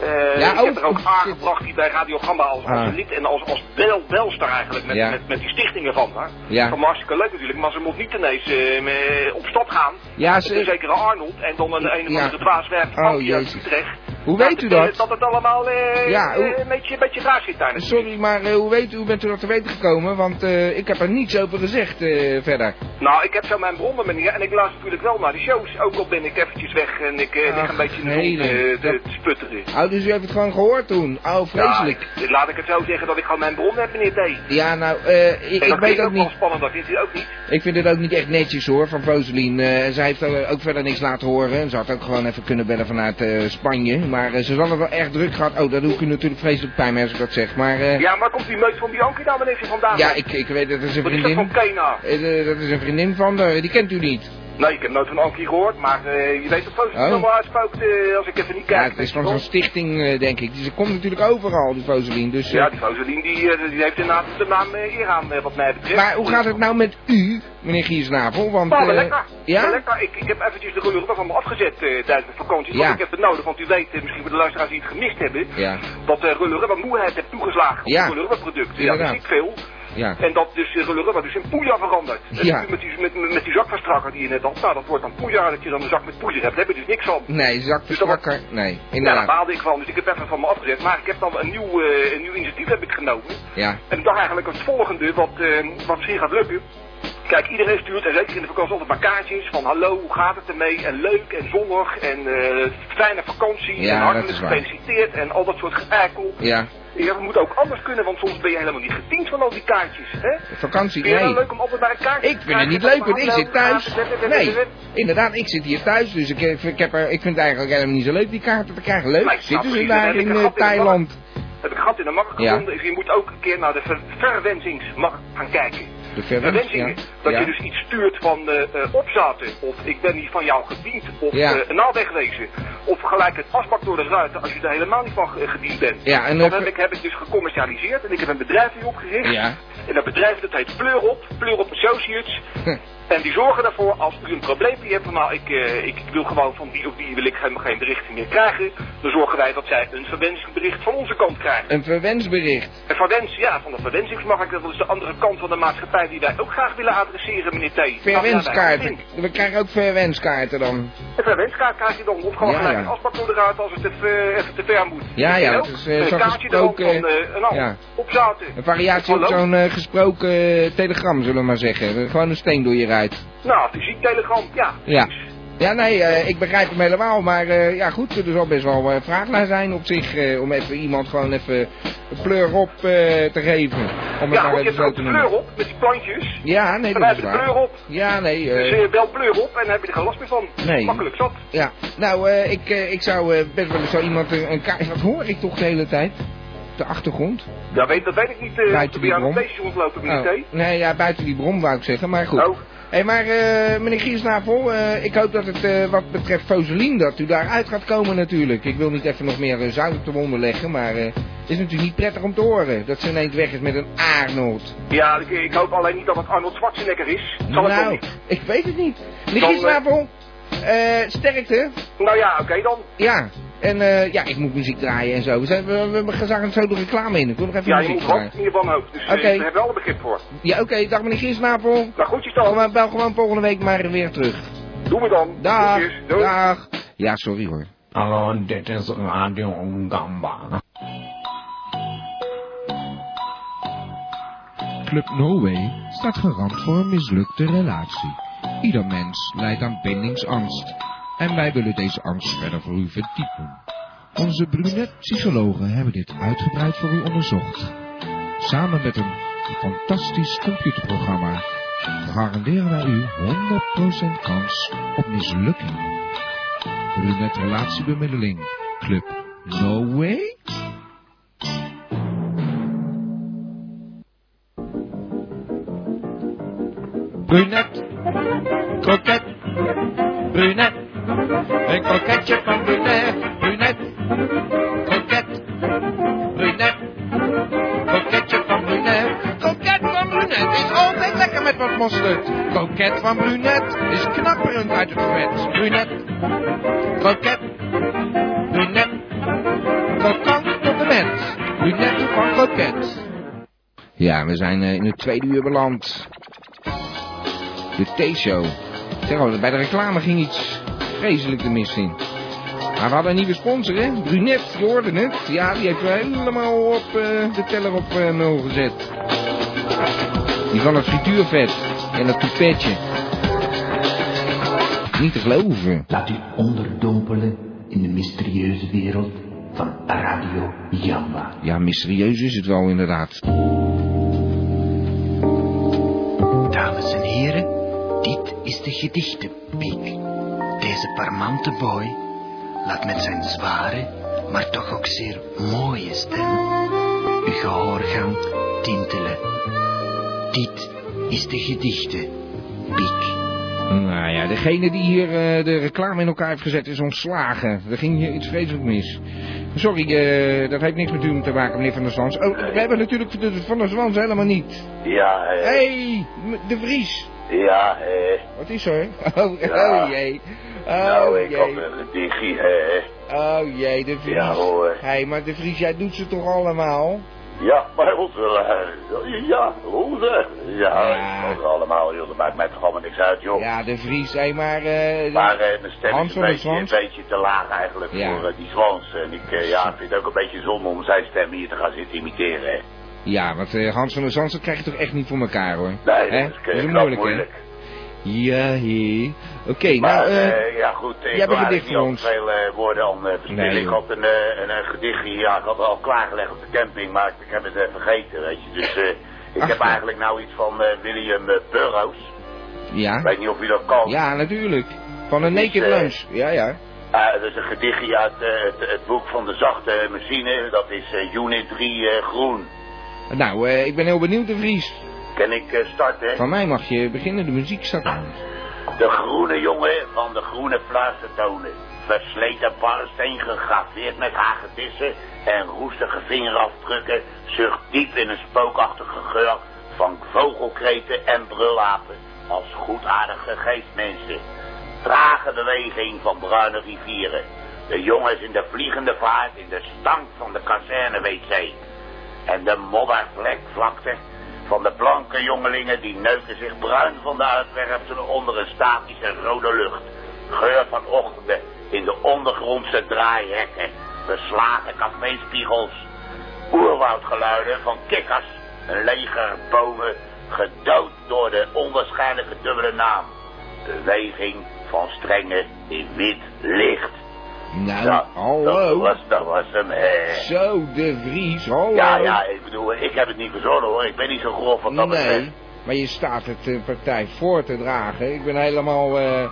Speaker 10: Eh,
Speaker 2: Ja,
Speaker 10: ik heb
Speaker 2: oh,
Speaker 10: er ook
Speaker 2: shit.
Speaker 10: aangebracht die bij Radio Gamba als, als
Speaker 2: Ah.
Speaker 10: lid en als, als bel, belster eigenlijk met,
Speaker 2: Ja.
Speaker 10: met, met die stichtingen van haar.
Speaker 2: Ja.
Speaker 10: Van hartstikke leuk natuurlijk, maar ze moet niet ineens eh, me- op stap gaan.
Speaker 2: Ja,
Speaker 10: Met een
Speaker 2: ze,
Speaker 10: zekere Arnold en dan een, een of
Speaker 2: Ja.
Speaker 10: andere dwaas werkt
Speaker 2: Oh,
Speaker 10: Ankie uit
Speaker 2: jezus.
Speaker 10: Utrecht.
Speaker 2: hoe weet u
Speaker 10: eh,
Speaker 2: dat?
Speaker 10: Dat het allemaal eh,
Speaker 2: Ja, hoe-
Speaker 10: eh, een, beetje, een beetje raar zit daar. natuurlijk.
Speaker 2: Sorry, maar eh, hoe weet u, hoe bent u dat te weten gekomen? Want eh, ik heb er niets over gezegd eh, verder.
Speaker 10: Nou, ik heb zo mijn bronnen meneer en ik luister natuurlijk wel naar de shows. Ook al ben ik eventjes weg en ik eh, lig
Speaker 2: Ach,
Speaker 10: een beetje in de zon
Speaker 2: heden.
Speaker 10: eh, te, te sputteren.
Speaker 2: Oh, dus u heeft het gewoon gehoord toen? Oh, vreselijk.
Speaker 10: Ja, ik- laat ik het zo zeggen dat ik gewoon mijn bron heb, meneer T. En
Speaker 2: Ja, nou, eh, ik,
Speaker 10: dat
Speaker 2: ik
Speaker 10: vind
Speaker 2: weet
Speaker 10: ook
Speaker 2: ook niet.
Speaker 10: wel spannend, dat vindt u ook niet.
Speaker 2: Ik vind het ook niet echt netjes hoor, van Roselien. Eh, zij heeft eh, ook verder niks laten horen. En Ze had ook gewoon even kunnen bellen vanuit eh, Spanje. Maar eh, ze zal het wel erg druk gehad. Oh, dat doe ik u natuurlijk vreselijk pijn mee als ik dat zeg. Maar eh, ja,
Speaker 10: Ja, maar komt die meuk van Bianchi nou meneer van vandaan?
Speaker 2: ik, ik weet dat is een
Speaker 10: Wat is dat
Speaker 2: vriendin.
Speaker 10: van Kena?
Speaker 2: Eh, eh, dat is een vriendin van haar. Die kent u niet.
Speaker 10: Nee, ik heb nooit van Anki gehoord, maar eh, je weet dat Foos
Speaker 2: Oh.
Speaker 10: nog wel uitspookt eh, als ik even niet kijk.
Speaker 2: Ja, het is
Speaker 10: weet je
Speaker 2: van
Speaker 10: wel.
Speaker 2: zo'n stichting, eh, denk ik. Die- Ze komt natuurlijk overal, die Roselien. Dus, eh,
Speaker 10: Ja, die Foselien die, eh, die heeft inderdaad de naam eh, eer aan, eh, wat mij betreft.
Speaker 2: maar hoe gaat het nou met u, meneer Giersnavel? Want,
Speaker 10: Nou,
Speaker 2: eh,
Speaker 10: wel lekker. Wel
Speaker 2: ja?
Speaker 10: lekker. Ik, ik heb eventjes de rode rubber van me afgezet eh, tijdens de vakantie.
Speaker 2: Ja.
Speaker 10: Want ik heb het nodig, want u weet, eh, misschien voor de luisteraars die het gemist hebben,
Speaker 2: Ja.
Speaker 10: dat eh Rulle Rubber moeheid heeft toegeslagen
Speaker 2: Ja.
Speaker 10: op het Rulle Rubber product. Ja, dat
Speaker 2: Inderdaad.
Speaker 10: is ik veel.
Speaker 2: Ja.
Speaker 10: En dat dus eh, gelukkig dat dus in poeja verandert. En
Speaker 2: Ja.
Speaker 10: nu met die, met, met die zakverstrakker die je net had, nou dat wordt dan poeja dat je dan een zak met poeja hebt. Daar heb je dus niks van.
Speaker 2: Nee, zakverstrakker. Nee,
Speaker 10: Ja, daar
Speaker 2: inderdaad.
Speaker 10: baalde ik van, dus ik heb even van me afgezet. Maar ik heb dan een nieuw, eh, een nieuw initiatief heb ik genomen.
Speaker 2: Ja.
Speaker 10: En ik dacht eigenlijk het volgende, wat, eh, wat zeer gaat lukken. Kijk, iedereen stuurt, en zeker in de vakantie, altijd maar kaartjes van hallo, hoe gaat het ermee? En leuk en zonnig en eh fijne vakantie
Speaker 2: Ja,
Speaker 10: en
Speaker 2: dat
Speaker 10: hartelijk
Speaker 2: is waar.
Speaker 10: gefeliciteerd en al dat soort geëikel.
Speaker 2: Ja.
Speaker 10: Ja, we moeten ook anders kunnen, want soms ben je helemaal niet gediend van al die kaartjes, hè?
Speaker 2: Vakantie,
Speaker 10: Vind je
Speaker 2: nee.
Speaker 10: wel leuk om altijd maar een kaartje
Speaker 2: Ik vind het niet leuk, want ik zit thuis. Nee, inderdaad, ik zit hier thuis, dus ik, heb- ik, heb er, ik vind het eigenlijk helemaal niet zo leuk die kaarten te krijgen. Leuk, zitten ze daar in eh, Thailand?
Speaker 10: Heb ik gehad in de markt
Speaker 2: Ja.
Speaker 10: gevonden. Dus je moet ook een keer naar de ver verwensingsmarkt gaan kijken.
Speaker 2: De verwens, ja.
Speaker 10: Verwensingen. Dat
Speaker 2: Ja.
Speaker 10: je dus iets stuurt van eh eh, opzaten. Of ik ben niet van jou gediend. Of
Speaker 2: Ja.
Speaker 10: eh, een naald wegwezen. Of gelijk het asbak door de ruiten als je er helemaal niet van eh, gediend bent.
Speaker 2: Ja, en
Speaker 10: dat
Speaker 2: ook-
Speaker 10: heb ik, heb ik dus gecommercialiseerd. En ik heb een bedrijf hier opgericht.
Speaker 2: Ja.
Speaker 10: En dat bedrijf dat heet Pleurop. Pleurop Associates. En die zorgen ervoor als u een probleempje hebt, van nou ik, eh, ik wil gewoon van die of die wil ik helemaal geen berichten meer krijgen, dan zorgen wij dat zij een verwensingsbericht van onze kant krijgen.
Speaker 2: Een verwensbericht.
Speaker 10: En verwens, ja, van de verwensingsmarkt, dat is de andere kant van de maatschappij die wij ook graag willen adresseren, meneer T.
Speaker 2: Verwenskaarten.
Speaker 10: Verwenskaarten.
Speaker 2: We krijgen ook verwenskaarten dan.
Speaker 10: Een verwenskaart krijg je dan, of gewoon
Speaker 2: Ja,
Speaker 10: gelijk
Speaker 2: ja.
Speaker 10: een asbak door de ruit als het even, eh, even te ver moet.
Speaker 2: Ja,
Speaker 10: Weet je
Speaker 2: ja,
Speaker 10: ook?
Speaker 2: dat is, eh,
Speaker 10: Een
Speaker 2: zo
Speaker 10: kaartje erop
Speaker 2: gesproken,
Speaker 10: van eh, een hand,
Speaker 2: ja.
Speaker 10: opzaten.
Speaker 2: Een variatie op
Speaker 10: Hallo?
Speaker 2: zo'n eh, gesproken eh, telegram, zullen we maar zeggen. Gewoon een steen door je ruit.
Speaker 10: Nou, fysiek telegram, ja.
Speaker 2: Ja. Ja, nee, eh, ik begrijp hem helemaal. Maar eh, ja, goed, er zal best wel eh, vraag naar zijn op zich. eh, om even iemand gewoon even een pleur op eh, te geven. Om het
Speaker 10: ja,
Speaker 2: maar
Speaker 10: want je hebt
Speaker 2: even zo
Speaker 10: ook
Speaker 2: te
Speaker 10: de
Speaker 2: noemen.
Speaker 10: kleur op, met die plantjes.
Speaker 2: Ja, nee,
Speaker 10: Dan
Speaker 2: dat
Speaker 10: heb
Speaker 2: is
Speaker 10: je de
Speaker 2: waar.
Speaker 10: kleur op.
Speaker 2: Ja, nee. eh,
Speaker 10: Dus eh, bel pleur op en dan heb je er geen last meer van.
Speaker 2: Nee.
Speaker 10: Makkelijk zat.
Speaker 2: ja. Nou, eh, ik, eh, ik zou eh, best wel eens zo iemand een, een kaart... Wat hoor ik toch de hele tijd? Op De achtergrond?
Speaker 10: Ja, weet, dat weet ik niet. eh
Speaker 2: Buiten
Speaker 10: of er bij jou
Speaker 2: die
Speaker 10: een
Speaker 2: bron.
Speaker 10: feestje rondlopen,
Speaker 2: Oh,
Speaker 10: meneer T.
Speaker 2: nee, ja, buiten die bron wou ik zeggen, maar goed.
Speaker 10: Oh.
Speaker 2: Hé, maar eh, meneer Giersnavel, eh, ik hoop dat het eh, wat betreft Foselien, dat u daaruit gaat komen natuurlijk. Ik wil niet even nog meer eh, zout op de wonden leggen, maar eh, het is natuurlijk niet prettig om te horen dat ze ineens weg is met een Arnold.
Speaker 10: Ja, ik, ik hoop alleen niet dat het Arnold Schwarzenegger is. Zal het wel
Speaker 2: nou,
Speaker 10: niet.
Speaker 2: ik weet het niet. Meneer
Speaker 10: Dan, eh,
Speaker 2: Giersnavel, eh, sterkte.
Speaker 10: Nou ja, oké dan.
Speaker 2: Ja, en eh, ja, ik moet muziek draaien en zo. We, zijn, we, we, we zagen zo de reclame in. Ik wil nog even
Speaker 10: Ja, je
Speaker 2: muziek
Speaker 10: moet wat
Speaker 2: draaien.
Speaker 10: in je wanhoop. Dus eh,
Speaker 2: Oké.
Speaker 10: we hebben wel een begrip voor.
Speaker 2: Ja, oké, dag meneer Giersnavel.
Speaker 10: Nou, goedjes dan.
Speaker 2: Gewoon- Bel gewoon volgende week maar weer terug.
Speaker 10: Doen we dan.
Speaker 2: Dag.
Speaker 10: Groetjes. Doei.
Speaker 2: Dag. Ja, sorry hoor.
Speaker 1: Hallo, dit is Radio Gamba.
Speaker 2: Club Norway staat garant voor een mislukte relatie. Ieder mens lijdt aan bindingsangst. En wij willen deze angst verder voor u verdiepen. Onze brunet-psychologen hebben dit uitgebreid voor u onderzocht. Samen met een fantastisch computerprogramma garanderen wij u 100% kans op mislukking. Brunet relatiebemiddeling. Club Norway? Brunet, kroket, brunet, een kroketje van brunet, brunet, kroket, brunet, kroketje van brunet. Kroket van brunet is altijd lekker met wat mosterd. Kroket van brunet is knapperend uit het vet. Brunet, kroket, brunet, krokant tot de mens. Brunet van kroket. Ja, we zijn eh, in het tweede uur beland. De T-show. Zeg al, bij de reclame ging iets vreselijk de mis in. Maar we hadden een nieuwe sponsor, hè? Brunet, je hoorde het. Ja, die heeft helemaal op eh, de teller op eh, nul gezet. Die van het frituurvet en dat toepetje. Niet te geloven.
Speaker 1: Laat u onderdompelen in de mysterieuze wereld van Radio Jamba.
Speaker 2: Ja, mysterieus is het wel inderdaad.
Speaker 11: Dames en heren, dit is de gedichtenpiek. Deze parmante boy laat met zijn zware, maar toch ook zeer mooie stem uw gehoorgang tintelen. Dit is de gedichtenpiek.
Speaker 2: Nou ja, degene die hier eh, de reclame in elkaar heeft gezet is ontslagen. Er ging hier iets vreselijk mis. Sorry, eh, dat heeft niks met u te maken, meneer Van der Zwans. Oh, we hebben natuurlijk de Van der Zwans helemaal niet.
Speaker 12: Ja,
Speaker 2: Hé,
Speaker 12: eh.
Speaker 2: hey, m- de Vries.
Speaker 12: Ja, eh.
Speaker 2: Wat is er? Oh,
Speaker 12: Ja.
Speaker 2: oh jee. Oh
Speaker 12: nou, ik had
Speaker 2: jee.
Speaker 12: een digi, eh.
Speaker 2: Oh jee, de Vries.
Speaker 12: Ja, hoor.
Speaker 2: Hé, maar de Vries, jij doet ze toch allemaal?
Speaker 8: Ja, bij ons wel. eh, Ja, hoe zeg? Ja, dat is allemaal, joh. Dat maakt mij toch allemaal niks uit, joh.
Speaker 2: Ja, de Vries, hé, maar... eh,
Speaker 8: Maar eh, mijn stem
Speaker 2: Hans
Speaker 8: is een
Speaker 2: van der
Speaker 8: beetje, een
Speaker 2: Zwans?
Speaker 8: beetje te laag eigenlijk
Speaker 2: Ja.
Speaker 8: voor eh, die zwans. En ik eh, ja, vind het ook een beetje zonde om zijn stem hier te gaan zitten imiteren. hè.
Speaker 2: Ja, want eh, Hans van der Zand, dat krijg je toch echt niet voor elkaar, hoor.
Speaker 8: Nee,
Speaker 2: Hè?
Speaker 8: dat is, eh, knap
Speaker 2: moeilijke, hè?
Speaker 8: moeilijk.
Speaker 2: Ja, hé. Oké,
Speaker 8: maar
Speaker 2: nou, eh...
Speaker 8: eh, ja goed,
Speaker 2: jij
Speaker 8: ik
Speaker 2: hebt
Speaker 8: wil
Speaker 2: een
Speaker 8: eigenlijk
Speaker 2: gedicht
Speaker 8: niet
Speaker 2: voor
Speaker 8: al
Speaker 2: ons.
Speaker 8: te veel eh, woorden aan eh verspillen.
Speaker 2: Nee,
Speaker 8: ik
Speaker 2: joh.
Speaker 8: had een, eh, een, eh, gedichtje, ja, ik had het al klaargelegd op de camping, maar ik, ik heb het eh, vergeten, weet je. Dus eh, ik heb eigenlijk nou iets van eh, William eh, Burroughs.
Speaker 2: Ja?
Speaker 8: Ik weet niet of je dat kan.
Speaker 2: Ja, natuurlijk. Van een
Speaker 8: Dus,
Speaker 2: naked
Speaker 8: eh,
Speaker 2: lunch. Ja, ja.
Speaker 8: Eh, dat is een gedichtje uit eh, het, het boek van de zachte machine. Dat is eh, Unit 3 eh, groen.
Speaker 2: Nou, eh, ik ben heel benieuwd, de Vries.
Speaker 8: Kan ik eh, starten?
Speaker 2: Van mij mag je beginnen, de muziek staat aan.
Speaker 8: De groene jongen van de groene tonen. Versleten barnsteen gegraveerd met hagedissen en roestige vingerafdrukken zucht diep in een spookachtige geur van vogelkreten en brulapen als goedaardige geestmensen. Trage beweging van bruine rivieren. De jongens in de vliegende vaart in de stank van de kazerne-wc. En de moddervlekvlakte van de blanke jongelingen die neuken zich bruin van de uitwerpselen onder een statische rode lucht. Geur van ochtenden in de ondergrondse draaihekken. Beslagen caféspiegels. Oerwoudgeluiden van kikkers. Een leger bomen gedood door de onwaarschijnlijke dubbele naam. Beweging van strengen in wit licht.
Speaker 2: Nou,
Speaker 8: Ja, Dat
Speaker 2: hallo.
Speaker 8: was, dat was hem, hè.
Speaker 2: Zo, de Vries, hallo.
Speaker 8: Ja, ja, ik bedoel, ik heb het niet verzonnen hoor. Ik ben niet zo grof wat dat
Speaker 2: oh. Nee,
Speaker 8: betreft.
Speaker 2: maar je staat het eh, partij voor te dragen. Ik ben helemaal... eh,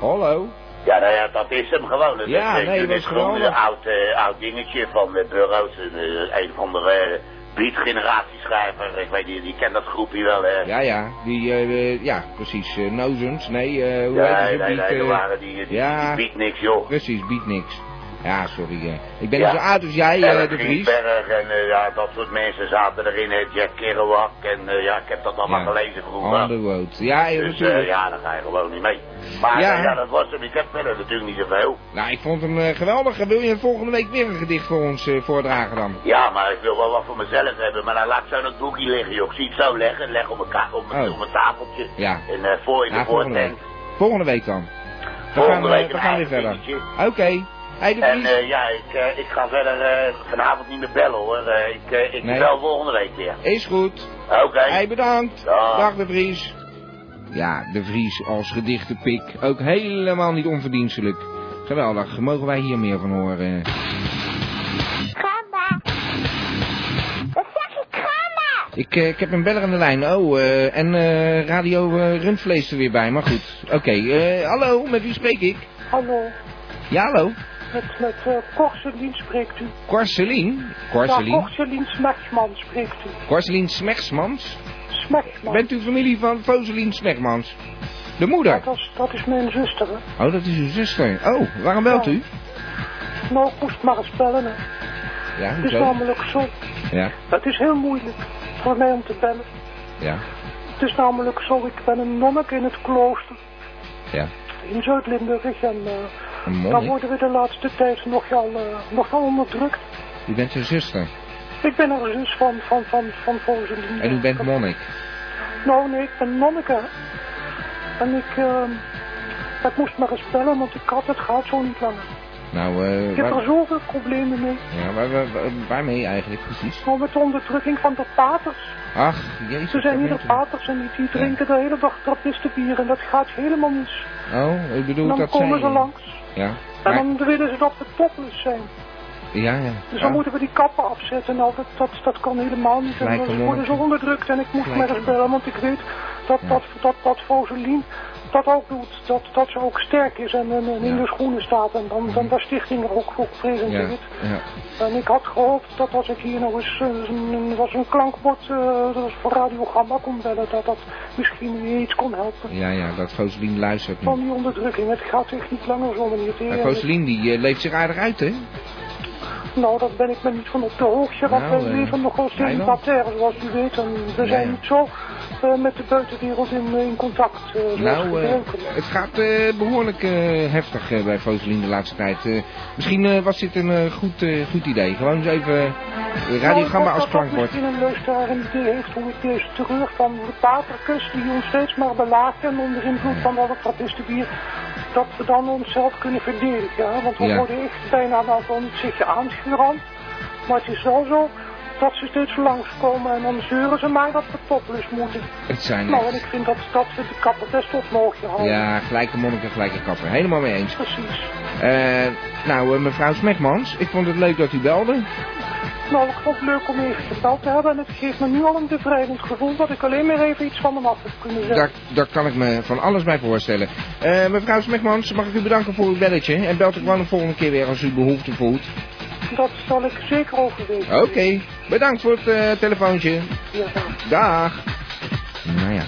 Speaker 2: Hallo?
Speaker 8: Ja, nou ja, dat is hem gewoon. Dat
Speaker 2: Ja,
Speaker 8: is, eh,
Speaker 2: nee,
Speaker 8: Judith
Speaker 2: dat is
Speaker 8: Groen,
Speaker 2: geweldig.
Speaker 8: Een oud, eh, oud dingetje van de bureaus. Een, eh, een van de eh, beat-generatieschrijver. Ik weet niet, die kent dat groepje wel, hè.
Speaker 2: Ja, ja, die, eh, eh, ja, precies, eh Nozens, nee, eh, hoe
Speaker 8: Ja,
Speaker 2: heet het?
Speaker 8: nee, nee, dat waren die, die,
Speaker 2: eh, ja,
Speaker 8: die niks, joh.
Speaker 2: Precies, biedt niks. Ja, sorry, eh. ik ben
Speaker 8: Ja.
Speaker 2: niet zo oud als jij, eh,
Speaker 8: Erg
Speaker 2: de Vries.
Speaker 8: Rietberg en eh, ja, dat soort mensen zaten erin. eh, Jack Kerouac en eh, ja, ik heb dat allemaal
Speaker 2: Ja. Oh.
Speaker 8: gelezen vroeger.
Speaker 2: On the road. Ja, eh,
Speaker 8: dus eh,
Speaker 2: natuurlijk.
Speaker 8: ja, daar ga je gewoon niet mee. Maar eh,
Speaker 2: Ja.
Speaker 8: ja, ja dat was hem. Ik heb verder natuurlijk niet zoveel.
Speaker 2: Nou, ik vond hem eh, geweldig. Wil je volgende week weer een gedicht voor ons eh, voordragen dan?
Speaker 8: Ja, maar ik wil wel wat voor mezelf hebben. Maar dan laat ik zo dat boekje liggen, joh. Ik zie het zo leggen. Leg op mijn, ka- op mijn,
Speaker 2: Oh.
Speaker 8: op mijn tafeltje.
Speaker 2: Ja.
Speaker 8: En eh, voor in de
Speaker 2: Ja, volgende week.
Speaker 8: voortent.
Speaker 2: Volgende week dan. We
Speaker 8: Volgende
Speaker 2: gaan, eh,
Speaker 8: week een
Speaker 2: we gaan weer
Speaker 8: eigen
Speaker 2: verder. Oké.
Speaker 8: dingetje.
Speaker 2: Hey, de
Speaker 8: En
Speaker 2: Vries.
Speaker 8: eh, ja, ik, eh, ik ga verder eh, vanavond niet meer bellen, hoor. Eh, ik eh, ik
Speaker 2: Nee.
Speaker 8: bel volgende week weer.
Speaker 2: Is goed.
Speaker 8: Oké.
Speaker 2: Hey, bedankt.
Speaker 8: Dag.
Speaker 2: de Vries. Ja, de Vries als gedichtenpik. Ook helemaal niet onverdienstelijk. Geweldig. Mogen wij hier meer van horen? Ik, eh, ik heb een beller aan de lijn. Oh, eh, en eh, radio eh, Rundvlees er weer bij, maar goed. Oké, eh, hallo, met wie spreek ik?
Speaker 13: Hallo,
Speaker 2: Ja, hallo?
Speaker 13: met, met eh Corselien spreekt u.
Speaker 2: Corselien?
Speaker 13: Ja,
Speaker 2: Corselien?
Speaker 13: Corselien Smechman spreekt u.
Speaker 2: Corselien Smechsmans?
Speaker 13: Smechman.
Speaker 2: Bent u familie van Foselien Smechmans? De moeder?
Speaker 13: Dat is, dat is mijn zuster, hè.
Speaker 2: Oh, dat is uw zuster. Oh, waarom belt u?
Speaker 13: Nou, ik moest maar eens bellen, hè.
Speaker 2: Ja,
Speaker 13: Het is
Speaker 2: hoezo?
Speaker 13: namelijk zo.
Speaker 2: Ja,
Speaker 13: Het is heel moeilijk voor mij om te bellen.
Speaker 2: ja,
Speaker 13: Het is namelijk zo, ik ben een monnik in het klooster
Speaker 2: ja.
Speaker 13: in Zuid-Limburg. En eh,
Speaker 2: Een
Speaker 13: dan
Speaker 2: monnik?
Speaker 13: worden we de laatste tijd nogal, eh, nogal onderdrukt.
Speaker 2: U bent zijn zuster.
Speaker 13: Ik ben er zus van, van, van, van Corselien.
Speaker 2: En u bent monnik.
Speaker 13: Nou, nee, ik ben nonneke. En ik, ehm ik moest maar eens bellen, want ik had het gaat zo niet langer.
Speaker 2: Nou, eh...
Speaker 13: Ik heb er
Speaker 2: waar-
Speaker 13: zoveel problemen mee.
Speaker 2: Ja, waar, waar- waar- waarmee eigenlijk precies?
Speaker 13: Gewoon met de onderdrukking van de paters.
Speaker 2: Ach, jezus.
Speaker 13: Ze zijn
Speaker 2: dat
Speaker 13: hier de
Speaker 2: weet u.
Speaker 13: paters en die, die drinken de hele dag trappistenbier en dat gaat helemaal mis.
Speaker 2: Oh, ik bedoel
Speaker 13: en dan
Speaker 2: dat
Speaker 13: komen
Speaker 2: zij-
Speaker 13: ze langs.
Speaker 2: Ja.
Speaker 13: En
Speaker 2: Maar,
Speaker 13: dan willen ze dat we topless zijn.
Speaker 2: ja, ja.
Speaker 13: Dus dan
Speaker 2: Oh,
Speaker 13: moeten we die kappen afzetten. Nou, dat, dat, dat kan helemaal niet. En
Speaker 2: Gelijke
Speaker 13: dan worden ze
Speaker 2: monniken.
Speaker 13: onderdrukt. En ik moest
Speaker 2: Gelijke
Speaker 13: maar eens bellen, want ik weet dat dat, dat, dat Foselien dat ook doet. Dat, dat ze ook sterk is en, en, en in de schoenen staat. En dan, dan de stichting er ook voor
Speaker 2: Mhm. Ja,
Speaker 13: presenteert.
Speaker 2: ja.
Speaker 13: En ik had gehoopt dat als ik hier nou eens eh, een, een- was een klankbord eh, dat was voor Radio Gamma kon bellen, dat dat misschien iets kon helpen.
Speaker 2: Ja, ja, dat Foselien luistert
Speaker 13: Van
Speaker 2: niet.
Speaker 13: die onderdrukking. Het gaat echt niet langer zo, meneer Teer.
Speaker 2: Maar
Speaker 13: En ik-
Speaker 2: Foselien, die eh, leeft zich aardig uit, hè?
Speaker 13: Nou, daar ben ik me niet van op de hoogte, want
Speaker 2: Nou,
Speaker 13: wij
Speaker 2: eh,
Speaker 13: leven nogal
Speaker 2: jij wel.
Speaker 13: célibatair, zoals u weet. En we zijn
Speaker 2: ja.
Speaker 13: niet zo eh, met de buitenwereld in, in contact eh, zoals
Speaker 2: Nou, eh,
Speaker 13: gebruikelijk.
Speaker 2: het gaat eh, behoorlijk eh, heftig eh, bij Foseline de laatste tijd. Eh, misschien eh, was dit een eh, goed, eh, goed idee. Gewoon eens even eh,
Speaker 13: Nou,
Speaker 2: Radio Gamma
Speaker 13: ik hoop
Speaker 2: als
Speaker 13: dat dat
Speaker 2: klankbord.
Speaker 13: misschien een luisteraar een idee heeft hoe ik deze terug van de patrikus die ons steeds maar belaagt en onder invloed van al het gratis bier, dat we dan onszelf kunnen verdedigen. hè? Want we
Speaker 2: Ja.
Speaker 13: worden echt bijna nou van het zitje aangerand. Maar het is wel zo dat ze steeds langskomen en dan zeuren ze maar dat we topless moeten.
Speaker 2: Het zijn
Speaker 13: Nou, en
Speaker 2: echt-
Speaker 13: ik vind dat, dat we de kappen best op mogen houden.
Speaker 2: Ja, gelijke monniken, gelijke kappen. Helemaal mee eens.
Speaker 13: Precies.
Speaker 2: Eh, nou, eh, mevrouw Smegmans, ik vond het leuk dat u belde.
Speaker 13: Nou, ik vond het leuk om even gebeld te hebben en het geeft me nu al een bevrijdend gevoel dat ik alleen maar even iets van hem af heb kunnen zeggen.
Speaker 2: Daar, daar kan ik me van alles bij voorstellen. Eh, mevrouw Smegmans, mag ik u bedanken voor uw belletje. En belt u gewoon de volgende keer weer als u behoefte voelt.
Speaker 13: Dat zal ik zeker overwegen.
Speaker 2: Oké, bedankt voor het eh, telefoontje.
Speaker 13: Ja.
Speaker 2: Dag. Nou ja.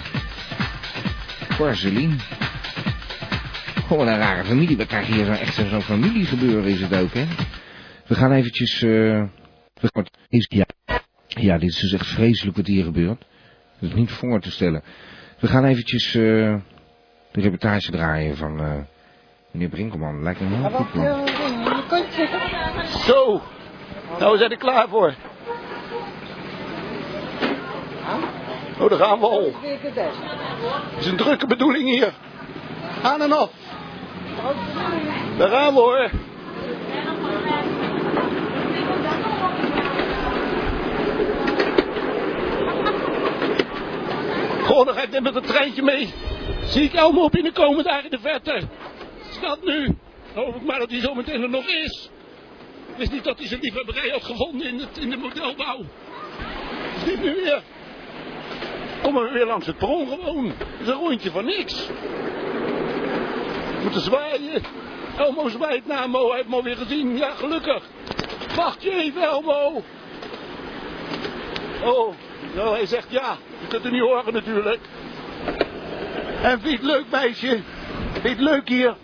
Speaker 2: Porcelein. Gewoon een rare familie. We krijgen hier zo echt zo- zo'n familiegebeuren is het ook, hè? We gaan eventjes... eh, we gaan- is- Ja. ja, dit is dus echt vreselijk wat hier gebeurt. Dat is niet voor te stellen. We gaan eventjes eh, de reportage draaien van eh, meneer Brinkelman. Lijkt me een heel goed plan.
Speaker 5: Zo, nou we zijn er klaar voor. Oh, daar gaan we al. Het is een drukke bedoeling hier. Aan en af. Daar gaan we hoor. Goh, dan ga ik net met het treintje mee. Zie ik Elmo binnenkomen daar in de verte. Schat nu. Hoop ik maar dat hij zometeen er nog is. Het is niet dat hij zijn liefhebberij had gevonden in, het, in de modelbouw. Is dit nu weer? Kom maar weer langs het perron gewoon. Het is een rondje van niks. We moeten zwaaien. Elmo zwaait naar Mo. Hij heeft Mo weer gezien. Ja, gelukkig. Wacht je even, Elmo. Oh, nou, hij zegt ja. Je kunt het niet horen natuurlijk. En vind je het leuk, meisje? Vind je het leuk hier?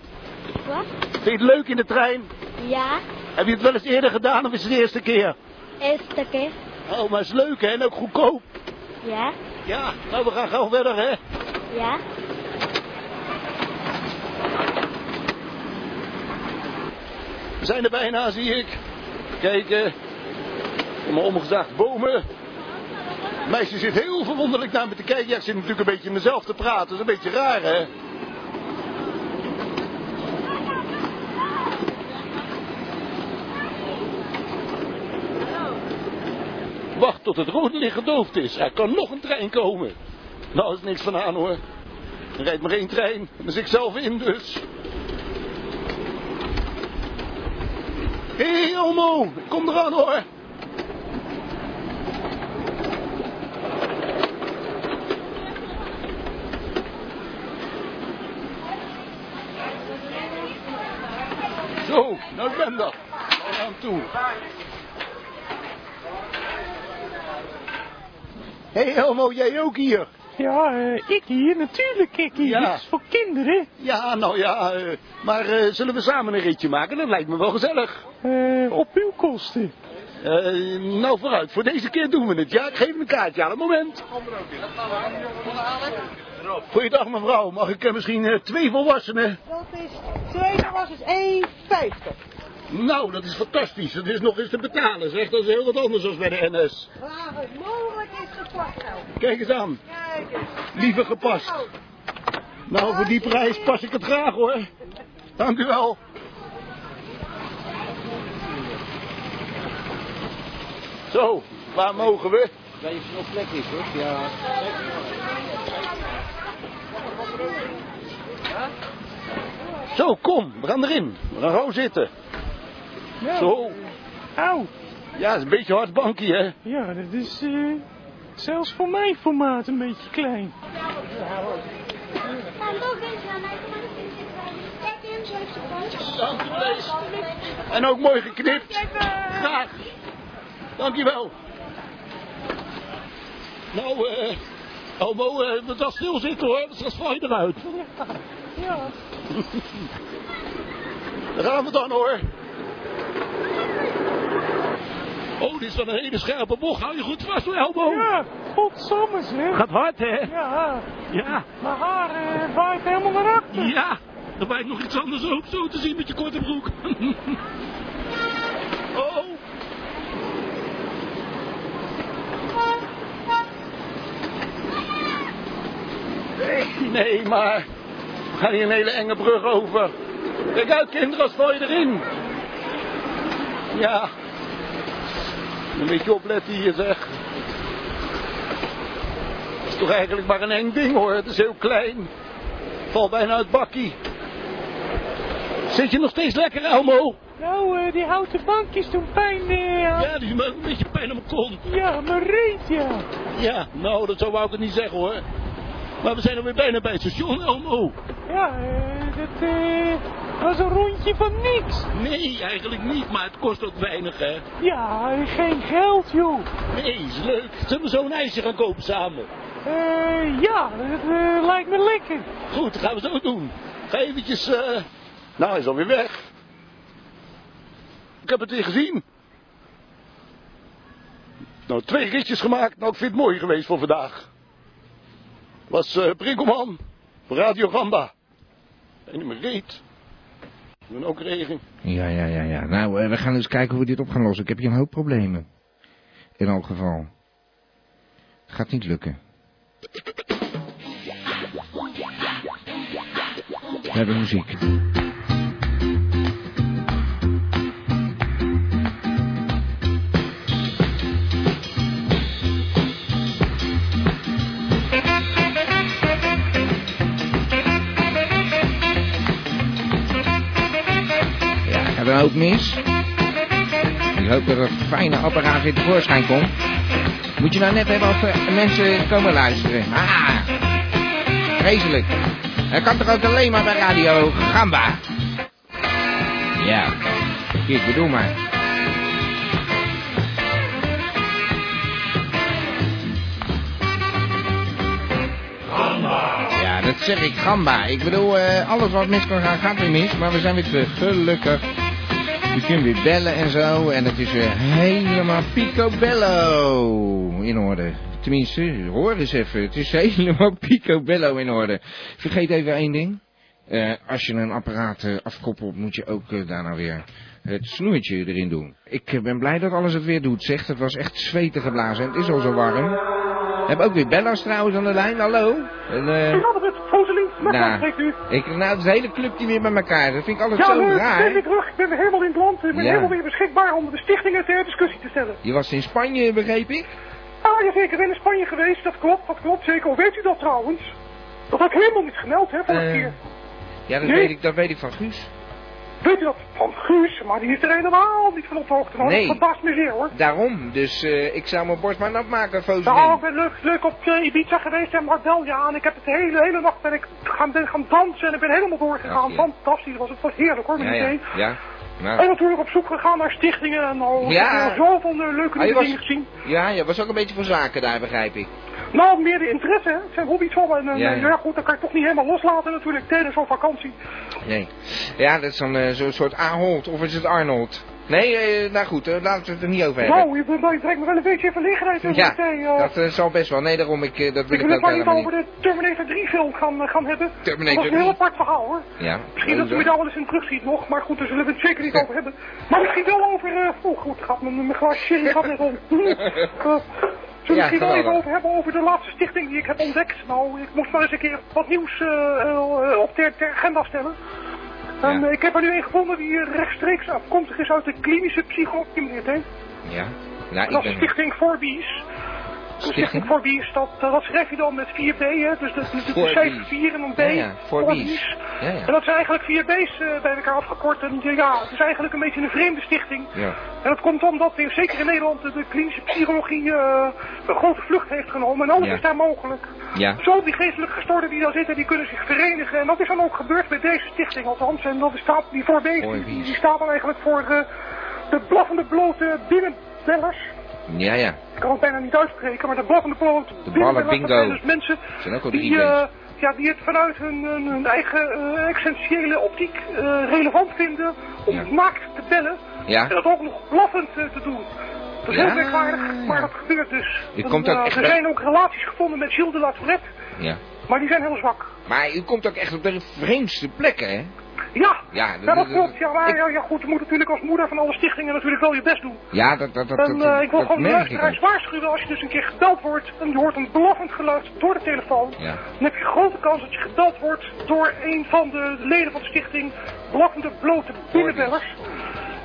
Speaker 14: Wat?
Speaker 5: Vind je het leuk in de trein?
Speaker 14: Ja,
Speaker 5: Heb je het wel eens eerder gedaan of is het de eerste keer?
Speaker 14: eerste keer.
Speaker 5: Oh, maar is leuk hè, en ook goedkoop.
Speaker 14: Ja,
Speaker 5: Ja, nou we gaan gauw verder hè.
Speaker 14: ja.
Speaker 5: We zijn er bijna, zie ik. Kijk, eh, allemaal omgezaagd bomen. Het meisje zit heel verwonderlijk naar me te kijken. Ja, ik zit natuurlijk een beetje in mezelf te praten. Dat is een beetje raar, hè? Wacht tot het rode licht gedoofd is. Er kan nog een trein komen. Nou, is niks van aan, hoor. Er rijdt maar één trein. Dan zit ik zelf in, dus. Hé, hey, Elmo, kom eraan hoor. Zo, nou ik ben dat. Naar hem toe. Hé hey, Elmo, jij ook hier?
Speaker 13: Ja, eh, ik hier, natuurlijk ik hier.
Speaker 5: Ja.
Speaker 13: Dit is voor kinderen.
Speaker 5: Ja, nou ja, eh, maar eh, zullen we samen een ritje maken? Dat lijkt me wel gezellig.
Speaker 13: Eh, op uw kosten.
Speaker 5: Eh, nou vooruit, voor deze keer doen we het. Ja, ik geef hem een kaartje aan het moment. Goeiedag mevrouw, mag ik eh, misschien eh, twee volwassenen?
Speaker 15: Dat is, tweede was dus 1,50.
Speaker 5: Nou, dat is fantastisch. Dat is nog eens te betalen, zeg. Dat is heel wat anders dan bij de NS.
Speaker 15: Waar het mogelijk is gepakt nou.
Speaker 5: Kijk eens aan.
Speaker 15: Kijk eens.
Speaker 5: Liever gepast.
Speaker 15: Nou,
Speaker 5: Nou, voor die prijs pas ik het graag hoor. Dank u wel. Zo, waar mogen we?
Speaker 8: Waar je nog plek is hoor. Ja.
Speaker 5: Zo, kom, we gaan erin. We gaan gewoon zitten. Zo.
Speaker 13: Auw.
Speaker 5: Ja, het is een beetje hard bankje, hè?
Speaker 13: Ja, dat is eh, zelfs voor mijn formaat een beetje klein.
Speaker 5: En ook mooi geknipt. Graag. Dankjewel. Nou, eh... Elmo, eh, we gaan stilzitten hoor, dus dat val je eruit.
Speaker 13: Ja.
Speaker 5: Daar gaan we dan hoor. Oh, dit is dan een hele scherpe bocht. Hou je goed vast hoor, Elmo.
Speaker 13: Ja. Godsamme zeg.
Speaker 16: Gaat hard, hè?
Speaker 13: Ja.
Speaker 16: Ja.
Speaker 13: Mijn haar eh, waait helemaal naar achter.
Speaker 16: Ja, er wijkt nog iets anders ook zo te zien met je korte broek. oh.
Speaker 5: Nee, nee, maar we gaan hier een hele enge brug over. Kijk uit, kinderen, als val je erin. Ja, een beetje opletten hier, zeg. Het is toch eigenlijk maar een eng ding, hoor. Het is heel klein. Val bijna uit bakkie. Zit je nog steeds lekker, Elmo?
Speaker 13: Nou, eh, die houten bankjes doen pijn. eh,
Speaker 5: Ja, die maakt een beetje pijn op mijn kont.
Speaker 13: Ja, mijn reet, ja.
Speaker 5: Ja, nou, dat zou wou ik het niet zeggen, hoor. Maar we zijn alweer bijna bij het station, Elmo.
Speaker 13: Ja, eh, dat eh, was een rondje van niks.
Speaker 16: Nee, eigenlijk niet, maar het kost ook weinig, hè?
Speaker 13: Ja, eh, geen geld, joh.
Speaker 16: Nee, is leuk. Zullen we zo'n ijsje gaan kopen samen?
Speaker 13: Eh, ja, dat eh, lijkt me lekker.
Speaker 5: Goed, dat gaan we zo doen. Ga eventjes... eh, Nou, hij is alweer weg. Ik heb het weer gezien. Nou, twee ritjes gemaakt. Nou, ik vind het mooi geweest voor vandaag. Was eh Brinkelman voor Radio Gamba. En in mijn reet. En ook regen.
Speaker 2: Ja, ja, ja, ja. Nou, eh, we gaan eens kijken hoe we dit op gaan lossen. Ik heb hier een hoop problemen. In elk geval. Gaat niet lukken. We hebben muziek. Ja, gaat een hoop mis. Ik hoop dat er fijne apparaat weer tevoorschijn komt. Moet je nou net hebben als er mensen komen luisteren. Ah, vreselijk. Dat kan toch ook alleen maar bij Radio Gamba? Ja, ik bedoel maar. Ja, dat zeg ik, gamba. Ik bedoel, eh, alles wat mis kan gaan, gaat weer mis. Maar we zijn weer terug, gelukkig. Je kunt weer bellen en zo. En het is weer helemaal picobello in orde. Tenminste, hoor eens even. Het is helemaal picobello in orde. Vergeet even één ding. Eh, als je een apparaat eh, afkoppelt, moet je ook eh, daarna weer het snoertje erin doen. Ik eh, ben blij dat alles het weer doet, zeg. Het was echt zweten geblazen en het is al zo warm. We hebben ook weer Bella's trouwens aan de lijn, hallo. En, eh,
Speaker 13: Robert, Foseling, met
Speaker 2: Nou.
Speaker 13: mij spreekt u.
Speaker 2: ik, nou, de hele club die weer bij elkaar. Dat vind ik altijd
Speaker 13: ja,
Speaker 2: zo
Speaker 13: leuk,
Speaker 2: raar.
Speaker 13: ik ben weer terug. Ik ben weer helemaal in het land. Ik ben
Speaker 2: Ja.
Speaker 13: helemaal weer beschikbaar om de stichtingen ter discussie te stellen.
Speaker 2: Je was in Spanje, begreep ik?
Speaker 13: Ah, ja, zeker. Ik ben in Spanje geweest. Dat klopt, dat klopt. Zeker. Hoe weet u dat trouwens? Dat had ik helemaal niet gemeld, hè, vorige
Speaker 2: Eh,
Speaker 13: keer.
Speaker 2: Ja, dat,
Speaker 13: Nee.
Speaker 2: weet ik, dat weet ik van Guus.
Speaker 13: Weet u dat? Van Guus, maar die is er helemaal niet van op de hoogte van.
Speaker 2: Nee.
Speaker 13: Dat verbaast me zeer, hoor.
Speaker 2: Daarom, dus eh, ik zou mijn borst maar nat maken, Foseling.
Speaker 13: Nou, ik ben leuk, leuk op eh, Ibiza geweest en Marbella. En ik heb het de hele, hele nacht ben ik gaan, ben gaan dansen en ik ben helemaal doorgegaan. Fantastisch, was, het was heerlijk hoor, met
Speaker 2: ja,
Speaker 13: iedereen.
Speaker 2: ja, ja.
Speaker 13: En
Speaker 2: Nou.
Speaker 13: natuurlijk op zoek gegaan naar stichtingen en al.
Speaker 2: Ja.
Speaker 13: Ik heb al zoveel eh, leuke
Speaker 2: Ah, je
Speaker 13: dingen
Speaker 2: was-
Speaker 13: gezien.
Speaker 2: ja, je was ook een beetje voor zaken daar, begrijp ik.
Speaker 13: Nou, meer de interesse, hè. Het zijn hobby's van me. En, eh,
Speaker 2: Ja,
Speaker 13: ja,
Speaker 2: ja.
Speaker 13: goed, dat kan ik toch niet helemaal loslaten natuurlijk tijdens zo'n vakantie.
Speaker 2: Nee. Ja, dat is dan eh, zo'n soort Aholt, of is het Arnold? Nee, eh, nou goed, eh, laten we het er niet over hebben.
Speaker 13: Nou, je, bent- je brengt me wel een beetje in verlegenheid. hè,
Speaker 2: ja,
Speaker 13: want, eh, eh,
Speaker 2: dat eh, zal best wel. Nee, daarom, ik, eh, dat wil
Speaker 13: ik
Speaker 2: ik,
Speaker 13: wil het
Speaker 2: ook
Speaker 13: maar niet
Speaker 2: helemaal niet.
Speaker 13: over de Terminator 3 film gaan, eh, gaan hebben.
Speaker 2: Terminator
Speaker 13: dat was een heel
Speaker 2: 3.
Speaker 13: apart verhaal hoor.
Speaker 2: Ja.
Speaker 13: Misschien dat u me daar wel eens in terugziet nog, maar goed, daar zullen we het zeker niet over hebben. Maar misschien wel over... eh, oh goed, gaat mijn, mijn glas sherry gaat net om. Eh, zullen we
Speaker 2: Ja,
Speaker 13: misschien wel even
Speaker 2: geweldig.
Speaker 13: over hebben over de laatste stichting die ik heb ontdekt. Nou, ik moest maar eens een keer wat nieuws eh, eh, op de ter agenda stellen. En, eh, ik heb er nu een gevonden die eh, rechtstreeks afkomstig is uit de klinische psychologie.
Speaker 2: Ja. Nou,
Speaker 13: Dat is
Speaker 2: ik ben...
Speaker 13: Stichting Voorbies. Stichting Voorbies, dat, eh, dat schrijf je dan met 4B, hè? Dus dat is
Speaker 2: Voor
Speaker 13: een cijfer
Speaker 2: Bies.
Speaker 13: 4 en een B.
Speaker 2: Ja, ja, voor
Speaker 13: Voor
Speaker 2: Bies.
Speaker 13: Bies.
Speaker 2: Ja,
Speaker 13: En
Speaker 2: ja.
Speaker 13: dat zijn eigenlijk vier B's eh, bij elkaar afgekort. En eh, ja, het is eigenlijk een beetje een vreemde stichting.
Speaker 2: Ja.
Speaker 13: En dat komt omdat, eh, zeker in Nederland, de klinische psychologie eh, een grote vlucht heeft genomen. En alles
Speaker 2: Ja.
Speaker 13: is daar mogelijk.
Speaker 2: Ja.
Speaker 13: Zo die geestelijk gestoorden die daar zitten, die kunnen zich verenigen. En dat is dan ook gebeurd met deze stichting althans. En dat is staat die voor deze, die, die staat dan eigenlijk voor eh, de blaffende blote binnenbellers.
Speaker 2: Ja, ja.
Speaker 13: Ik kan het bijna niet uitspreken, maar de blaffende blote
Speaker 2: De
Speaker 13: binnenbellers,
Speaker 2: ballen
Speaker 13: dat zijn
Speaker 2: bingo.
Speaker 13: dus mensen
Speaker 2: Er zijn ook al drie
Speaker 13: die, eh,
Speaker 2: mensen.
Speaker 13: ja, die het vanuit hun, hun, hun eigen eh, essentiële optiek eh, relevant vinden om
Speaker 2: Ja.
Speaker 13: naakt te bellen.
Speaker 2: Ja.
Speaker 13: En dat ook nog blaffend eh, te doen. Dat is heel
Speaker 2: Ja.
Speaker 13: merkwaardig, maar dat gebeurt dus.
Speaker 2: U
Speaker 13: En,
Speaker 2: komt ook
Speaker 13: eh,
Speaker 2: echt
Speaker 13: er
Speaker 2: bij-
Speaker 13: zijn ook relaties gevonden met Gilles de La Tourette,
Speaker 2: Ja.
Speaker 13: maar die zijn heel zwak.
Speaker 2: Maar u komt ook echt op de vreemdste plekken, hè?
Speaker 13: Ja,
Speaker 2: Ja,
Speaker 13: ja dat klopt. Ja, maar, ja, ja, goed, je moet natuurlijk als moeder van alle stichtingen natuurlijk wel je best doen.
Speaker 2: Ja, dat, dat, dat,
Speaker 13: en
Speaker 2: dat-
Speaker 13: eh, ik wil
Speaker 2: dat
Speaker 13: gewoon de
Speaker 2: merk
Speaker 13: luisteraars
Speaker 2: ik
Speaker 13: waarschuwen als je dus een keer gebeld wordt en je hoort een beloffend geluid door de telefoon.
Speaker 2: ook. Ja.
Speaker 13: Dan heb je grote kans dat je gebeld wordt door een van de leden van de stichting Blokkende Blote Binnenbellers.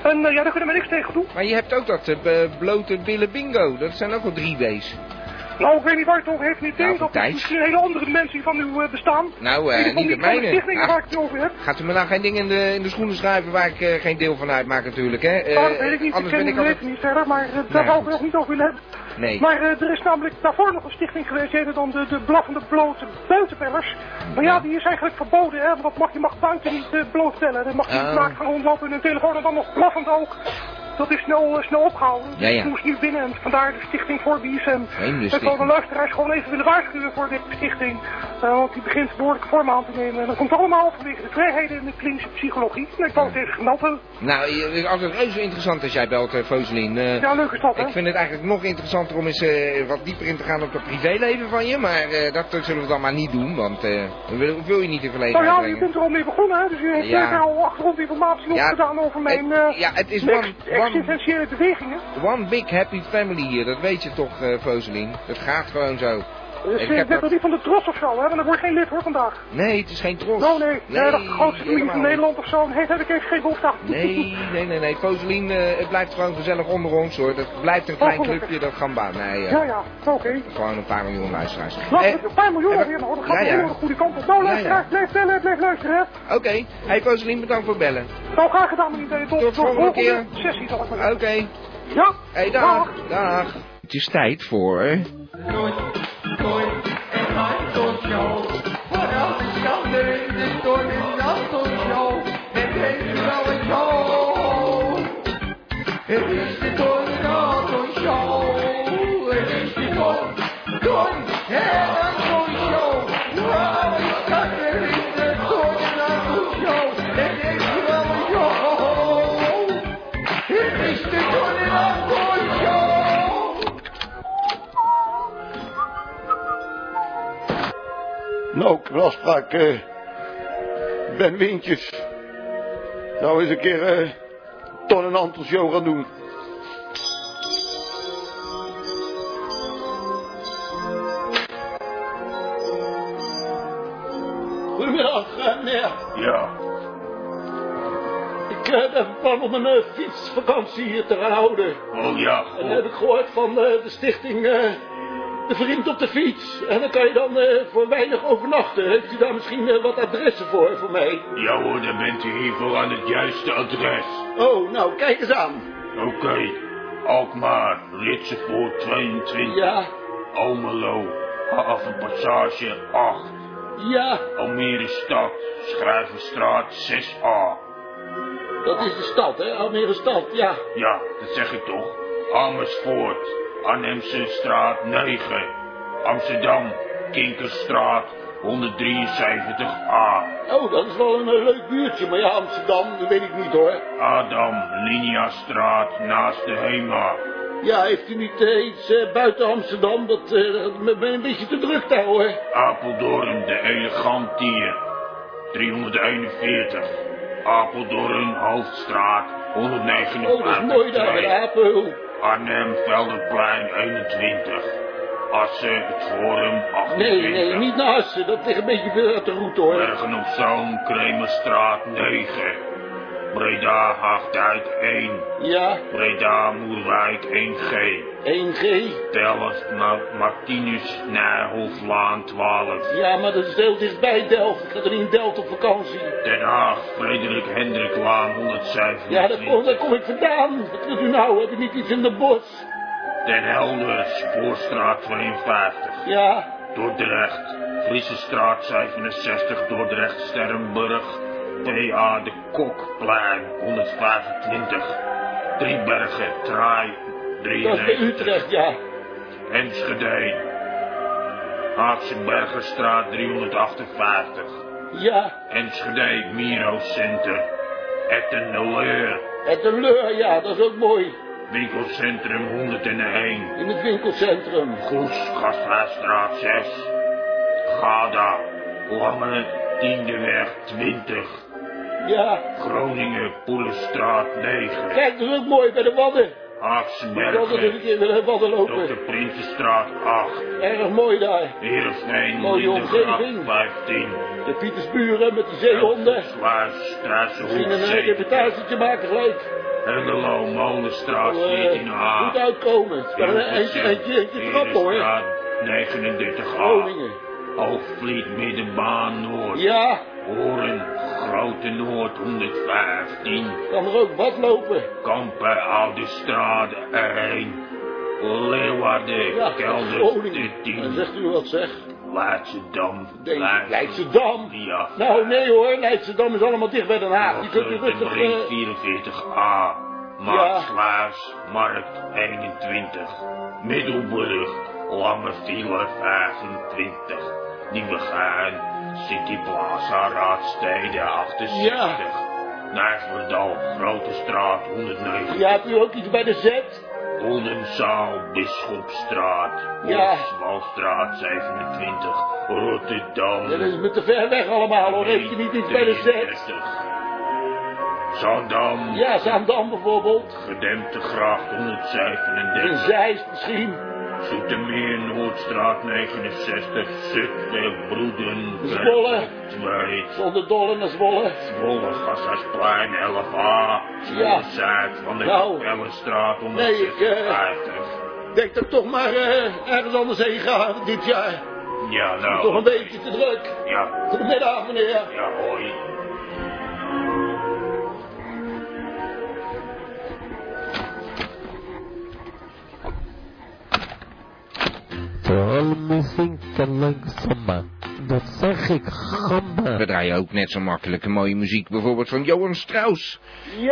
Speaker 13: En eh, ja, daar kunnen we niks tegen doen.
Speaker 2: Maar je hebt ook dat eh, b- blote billen bingo. Dat zijn ook al drie B's.
Speaker 13: Nou, ik weet niet waar het over heeft, niet
Speaker 2: Nou,
Speaker 13: tegen. Dat
Speaker 2: Thijs.
Speaker 13: is misschien hele andere dimensie van uw eh, bestaan.
Speaker 2: Nou,
Speaker 13: In ieder
Speaker 2: eh,
Speaker 13: geval
Speaker 2: niet de
Speaker 13: van de
Speaker 2: mijne.
Speaker 13: stichtingen
Speaker 2: Ach,
Speaker 13: waar ik het over heb.
Speaker 2: gaat u me nou geen dingen in de, in de schoenen schuiven waar ik eh, geen deel van uitmaak natuurlijk, hè? Eh,
Speaker 13: Nou, dat weet ik niet. Ik
Speaker 2: Anders
Speaker 13: ken die
Speaker 2: ben ik
Speaker 13: altijd...
Speaker 2: altijd...
Speaker 13: niet verder, maar eh, daar
Speaker 2: Nou,
Speaker 13: wou ik
Speaker 2: goed.
Speaker 13: nog niet over willen hebben.
Speaker 2: Nee.
Speaker 13: Maar eh, er is namelijk daarvoor nog een stichting geweest, die heette dan de, de Blaffende Blote Buitenbellers. Maar ja, die is eigenlijk verboden, hè, want mag, je mag buiten niet eh, blootbellen. Dan mag je
Speaker 2: Oh.
Speaker 13: niet naakt gaan rondlopen in een telefoon en dan nog blaffend ook. Dat is snel, eh, snel opgehouden. Dus
Speaker 2: Ja, ja.
Speaker 13: het moest nu binnen en vandaar de stichting voor BSM.
Speaker 2: Vreemde
Speaker 13: Ik wil de
Speaker 2: stichting.
Speaker 13: luisteraars gewoon even willen waarschuwen voor deze stichting. eh, want die begint behoorlijke vorm aan te nemen. En dat komt allemaal vanwege de vrijheden in de klinische psychologie. En ik wou het even gemeld hebben.
Speaker 2: Nou, je- het is altijd reuze interessant als jij belt, eh, Foselien. Eh,
Speaker 13: Ja, leuk is dat, hè?
Speaker 2: Ik vind het eigenlijk nog interessanter om eens eh, wat dieper in te gaan op het privéleven van je. Maar eh, dat eh, zullen we dan maar niet doen, want eh, we wil, wil je niet in
Speaker 13: Nou
Speaker 2: verlegenheid
Speaker 13: ja, u
Speaker 2: brengen.
Speaker 13: bent er al mee begonnen, hè? Dus u heeft
Speaker 2: Ja.
Speaker 13: zeker al achtergrondinformatie
Speaker 2: Ja,
Speaker 13: opgedaan over mijn eh,
Speaker 2: ja, het is
Speaker 13: ex-
Speaker 2: one- one-
Speaker 13: existentiële bewegingen.
Speaker 2: One big happy family hier, dat weet je toch, eh Foselien? Dat gaat gewoon zo.
Speaker 13: Dus
Speaker 2: Ik
Speaker 13: eh, ik
Speaker 2: heb
Speaker 13: ben
Speaker 2: dat-
Speaker 13: toch niet van de trots of zo, hè? Want dan word ik geen lid hoor vandaag.
Speaker 2: Nee, het is geen trots.
Speaker 13: Oh nee, nee, dat is de grootste familie
Speaker 2: helemaal
Speaker 13: van
Speaker 2: niet.
Speaker 13: Nederland of zo. Nee, daar heb ik even geen behoefte aan.
Speaker 2: Nee, nee, nee, nee. Foselien, eh, het blijft gewoon gezellig onder ons hoor. Dat blijft een klein
Speaker 13: gelukkig.
Speaker 2: clubje, dat gaan baan. Nee, eh,
Speaker 13: Ja, ja, oké.
Speaker 2: gewoon een paar miljoen luisteraars.
Speaker 13: Laten
Speaker 2: Eh,
Speaker 13: we een paar miljoen weer, hoor. Dat gaat
Speaker 2: Ja, ja.
Speaker 13: helemaal de goede kant op. Nou,
Speaker 2: Ja,
Speaker 13: luisteraars,
Speaker 2: ja.
Speaker 13: blijf bellen, blijf luisteren, hè?
Speaker 2: Oké, hey Foselien, bedankt voor het bellen.
Speaker 13: Nou, graag gedaan, meneer Tot,
Speaker 2: Tot volgende keer.
Speaker 13: sessie, zal ik maar
Speaker 2: Oké.
Speaker 13: zeggen. Ja?
Speaker 2: Hey,
Speaker 13: dag.
Speaker 2: dag. Dag. Het is tijd voor...
Speaker 5: Nou, knalspraak. eh ben Wintjes. Nou eens een keer eh Ton en Anton show gaan doen.
Speaker 4: Goedemiddag, eh, meneer.
Speaker 5: Ja.
Speaker 4: Ik eh, ben van plan om een eh, fietsvakantie hier te gaan houden.
Speaker 12: Oh ja,
Speaker 4: En dan heb ik gehoord van eh, de stichting eh, De Vriend op de Fiets. En dan kan je dan eh, voor weinig overnachten. Heeft u daar misschien eh, wat adressen voor, voor mij?
Speaker 12: Ja hoor, dan bent u hiervoor aan het juiste adres.
Speaker 4: Oh, nou, kijk eens aan.
Speaker 12: Oké, Alkmaar, Ritsenvoort 22.
Speaker 4: Ja.
Speaker 12: Almelo, Havenpassage 8.
Speaker 4: Ja,
Speaker 12: Almere Stad, Schrijverstraat 6A.
Speaker 4: dat is de stad, hè? Almere stad, ja.
Speaker 12: Ja, dat zeg ik toch. Amersfoort, Arnhemse straat 9. Amsterdam, Kinkerstraat 173A.
Speaker 4: Oh, dat is wel een eh, leuk buurtje. Maar ja, Amsterdam, dat weet ik niet hoor.
Speaker 12: Adam, Liniastraat naast de HEMA.
Speaker 4: Ja, heeft u niet eh, iets eh, buiten Amsterdam? Dat eh, ik ben een beetje te druk daar hoor.
Speaker 12: Apeldoorn, de Elegantier 341. Apeldoorn, Hoofdstraat
Speaker 4: Oh, dat is mooi daar bij de
Speaker 12: 159.
Speaker 4: Apel.
Speaker 12: Arnhem, Velderplein 21. Assen, het Forum 28.
Speaker 4: Nee, nee, niet naar Assen. Dat ligt een beetje ver uit de route hoor.
Speaker 12: Bergen op Zoom, Kremerstraat 9. Breda, Haagduit 1.
Speaker 4: Ja,
Speaker 12: Breda, Moerwijk 1G.
Speaker 4: 1G.
Speaker 12: Tellers, Ma- Martinus, Nijhofflaan 12.
Speaker 4: ja, maar dat is heel dichtbij Delft. Ik ga er in Delft op vakantie.
Speaker 12: Den Haag, Frederik Hendriklaan 107.
Speaker 4: Ja, daar kom, daar kom ik vandaan. Wat doet u nou? Heb ik niet iets in de bos?
Speaker 12: Den Helder, Spoorstraat 52.
Speaker 4: Ja,
Speaker 12: Dordrecht, Friesestraat 67, Dordrecht, Sterrenburg. PA de Kokplein 125. Driebergen, Traai
Speaker 4: dat is bij
Speaker 12: 93.
Speaker 4: Utrecht, ja.
Speaker 12: Enschede. Haagsebergenstraat 358.
Speaker 4: Ja,
Speaker 12: Enschede, Miro Center. Etten de Leur.
Speaker 4: het de Leur, ja, dat is ook mooi.
Speaker 12: Winkelcentrum 101.
Speaker 4: In het winkelcentrum.
Speaker 12: Goes, Gasthuisstraat 6. Gada, Lange, Tiendeweg 20.
Speaker 4: Ja.
Speaker 12: Groningen, Poelenstraat 9.
Speaker 4: Kijk, dat is ook mooi bij de wadden. Ik wil altijd eens een
Speaker 12: Haaksbergen,
Speaker 4: keer willen de wadden lopen.
Speaker 12: Dr. Prinsenstraat 8.
Speaker 4: Erg mooi daar.
Speaker 12: Heerenveen,
Speaker 4: Mooie
Speaker 12: Lindengracht
Speaker 4: omgeving.
Speaker 12: 15.
Speaker 4: De Pietersburen met die zeehonden.
Speaker 12: Sluis,
Speaker 4: Misschien
Speaker 12: Straatsenhoek
Speaker 4: een eh,
Speaker 12: 7.
Speaker 4: reportagetje maken gelijk.
Speaker 12: Hengelo, Molenstraat
Speaker 4: Zal, eh,
Speaker 12: 14a.
Speaker 4: Goed uitkomen. Het is maar eh, een eindje- eindje eindje trap hoor. Oh,
Speaker 12: Herenstraat 39a.
Speaker 4: Groningen.
Speaker 12: Hoogvliet, Middenbaan, Noord.
Speaker 4: Ja.
Speaker 12: Horen, Grote Noord 115.
Speaker 4: Kan er ook wat lopen.
Speaker 12: Kampen, Oude Straat 1. Leeuwarden,
Speaker 4: Ja,
Speaker 12: Kelder
Speaker 4: Groningen. Dan
Speaker 12: 13.
Speaker 4: zegt u wat zeg.
Speaker 12: Leidschendam,
Speaker 4: Leidschendam.
Speaker 12: Ja.
Speaker 4: Nou nee hoor, Leidschendam is allemaal dicht bij Den Haag. Je kunt u
Speaker 12: Grote
Speaker 4: rustig...
Speaker 12: Brink
Speaker 4: eh,
Speaker 12: 44a. Maartslaars, Markt 21. Middelburg, Lange File 25. Nieuwegein, City Plaza, Raadstede 68.
Speaker 4: Ja.
Speaker 12: Nijverdal, Grote Straat 109.
Speaker 4: Ja, hebt u ook iets bij de Z?
Speaker 12: Oldenzaal, Bisschopstraat,
Speaker 4: Ja.
Speaker 12: Hofsmalstraat 27, Rotterdam.
Speaker 4: Dat is me te ver weg allemaal hoor. Heeft u niet iets bij de Z?
Speaker 12: 33. Zandam,
Speaker 4: Ja, Zaandam bijvoorbeeld.
Speaker 12: gedempte gracht 137.
Speaker 4: In Zeist misschien.
Speaker 12: Zoetermeer, Noordstraat 69, Zutten, Broeden,
Speaker 4: Zwolle.
Speaker 12: 2,
Speaker 4: Zonder dolle naar Zwolle.
Speaker 12: Zwolle, Gassasplein, 11a,
Speaker 4: Ja.
Speaker 12: Zwolle Zuid, Van de
Speaker 4: Nou.
Speaker 12: Kapellenstraat
Speaker 4: Nee, ik, eh,
Speaker 12: 150.
Speaker 4: denk dat ik toch maar eh, ergens anders heen ga dit jaar.
Speaker 12: Ja,
Speaker 4: Toch een
Speaker 12: nou,
Speaker 4: beetje te druk.
Speaker 12: ja,
Speaker 4: Goedemiddag meneer.
Speaker 12: ja, hoi.
Speaker 9: Vooral muziek
Speaker 3: então,
Speaker 9: te langzamer. Dat zeg ik, gamma.
Speaker 2: We draaien ook net zo makkelijke mooie muziek, bijvoorbeeld van Johan Strauss.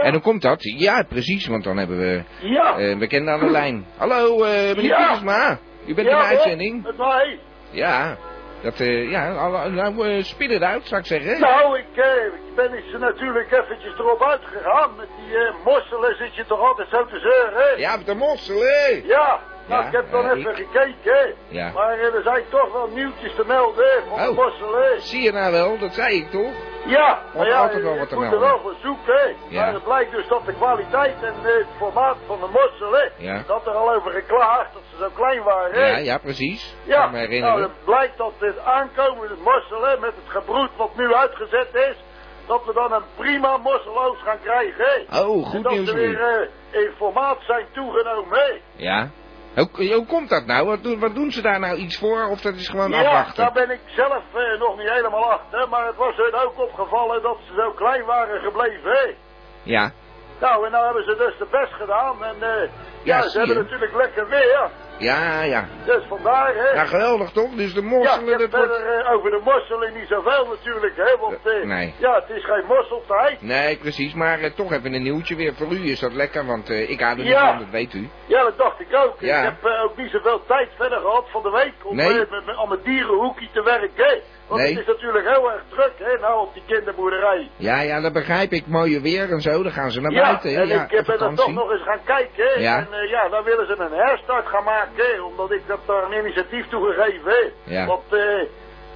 Speaker 2: En hoe komt dat? Ja, precies, want dan hebben we
Speaker 4: Ja.
Speaker 2: eh, een bekende aan de lijn. Hallo, eh meneer
Speaker 4: Ja.
Speaker 2: Pietersma. U bent in de
Speaker 4: hoor,
Speaker 2: uitzending?
Speaker 4: Met mij.
Speaker 2: Ja. Dat, eh, ja, al- nou, eh, spit het uit, zou ik zeggen.
Speaker 4: Nou, ik, eh, ik ben eens natuurlijk eventjes erop uitgegaan. Met die eh, mosselen zit je toch altijd zo te zeuren, hè?
Speaker 2: Ja, met de mosselen.
Speaker 4: Ja, nou,
Speaker 2: Ja,
Speaker 4: ik heb dan
Speaker 2: eh,
Speaker 4: even gekeken, hè.
Speaker 2: Ja.
Speaker 4: Maar eh, er zijn toch wel nieuwtjes te melden, hè, van de
Speaker 2: Oh.
Speaker 4: mosselen.
Speaker 2: Zie je nou wel, dat zei ik toch?
Speaker 4: Ja,
Speaker 2: Want
Speaker 4: maar
Speaker 2: er
Speaker 4: ja,
Speaker 2: altijd wel
Speaker 4: je
Speaker 2: wat te
Speaker 4: moet er
Speaker 2: melden.
Speaker 4: wel voor zoeken, hè.
Speaker 2: Ja.
Speaker 4: Maar het blijkt dus dat de kwaliteit en eh, het formaat van de mosselen...
Speaker 2: Ja.
Speaker 4: dat er al over geklaagd, dat ze zo klein waren, hè.
Speaker 2: Ja, ja, precies.
Speaker 4: Ja,
Speaker 2: Kan me herinneren.
Speaker 4: nou, het blijkt dat dit aankomende mosselen met het gebroed wat nu uitgezet is, dat we dan een prima mosseloos gaan krijgen. hè?
Speaker 2: Oh, goed
Speaker 4: en dat
Speaker 2: nieuws,
Speaker 4: er weer eh, in formaat zijn toegenomen. hè?
Speaker 2: Ja. Hoe, hoe komt dat nou? Wat doen, wat doen ze daar nou iets voor? Of dat is gewoon
Speaker 4: Ja,
Speaker 2: afwachten?
Speaker 4: daar ben ik zelf eh, nog niet helemaal achter, maar het was hun ook opgevallen dat ze zo klein waren gebleven. hè?
Speaker 2: Ja.
Speaker 4: Nou, en nou hebben ze dus de best gedaan en eh, ja,
Speaker 2: Ja,
Speaker 4: ze
Speaker 2: zie
Speaker 4: hebben
Speaker 2: je.
Speaker 4: natuurlijk lekker weer.
Speaker 2: Ja, ja.
Speaker 4: Dus vandaar, hè.
Speaker 2: Ja, geweldig toch? Dus de
Speaker 4: Ja,
Speaker 2: mosselen,
Speaker 4: ik heb
Speaker 2: dat wordt...
Speaker 4: verder eh, over de mosselen niet zoveel natuurlijk, hè, want eh,
Speaker 2: nee.
Speaker 4: ja, het is geen mossel te heet.
Speaker 2: Nee, precies. Maar eh, toch even een nieuwtje weer. Voor u is dat lekker, want eh, ik hou er
Speaker 4: Ja.
Speaker 2: niet van, dat weet u.
Speaker 4: Ja, dat dacht ik ook.
Speaker 2: Ja.
Speaker 4: Ik heb eh, ook niet zoveel tijd verder gehad van de week om
Speaker 2: Nee.
Speaker 4: eh, met- met- aan mijn dierenhoekje te werken. hè. Want
Speaker 2: Nee.
Speaker 4: het is natuurlijk heel erg druk, hè, nou op die kinderboerderij.
Speaker 2: Ja, ja, dat begrijp ik. Mooie weer en zo, dan gaan ze naar
Speaker 4: ja,
Speaker 2: buiten. hè.
Speaker 4: en
Speaker 2: ja,
Speaker 4: ik eh,
Speaker 2: op
Speaker 4: ben er toch
Speaker 2: vakantie.
Speaker 4: nog eens gaan kijken. hè.
Speaker 2: Ja.
Speaker 4: En eh, ja, daar willen ze een herstart gaan maken, hè, omdat ik dat daar een initiatief toe gegeven heb.
Speaker 2: Ja.
Speaker 4: Want eh,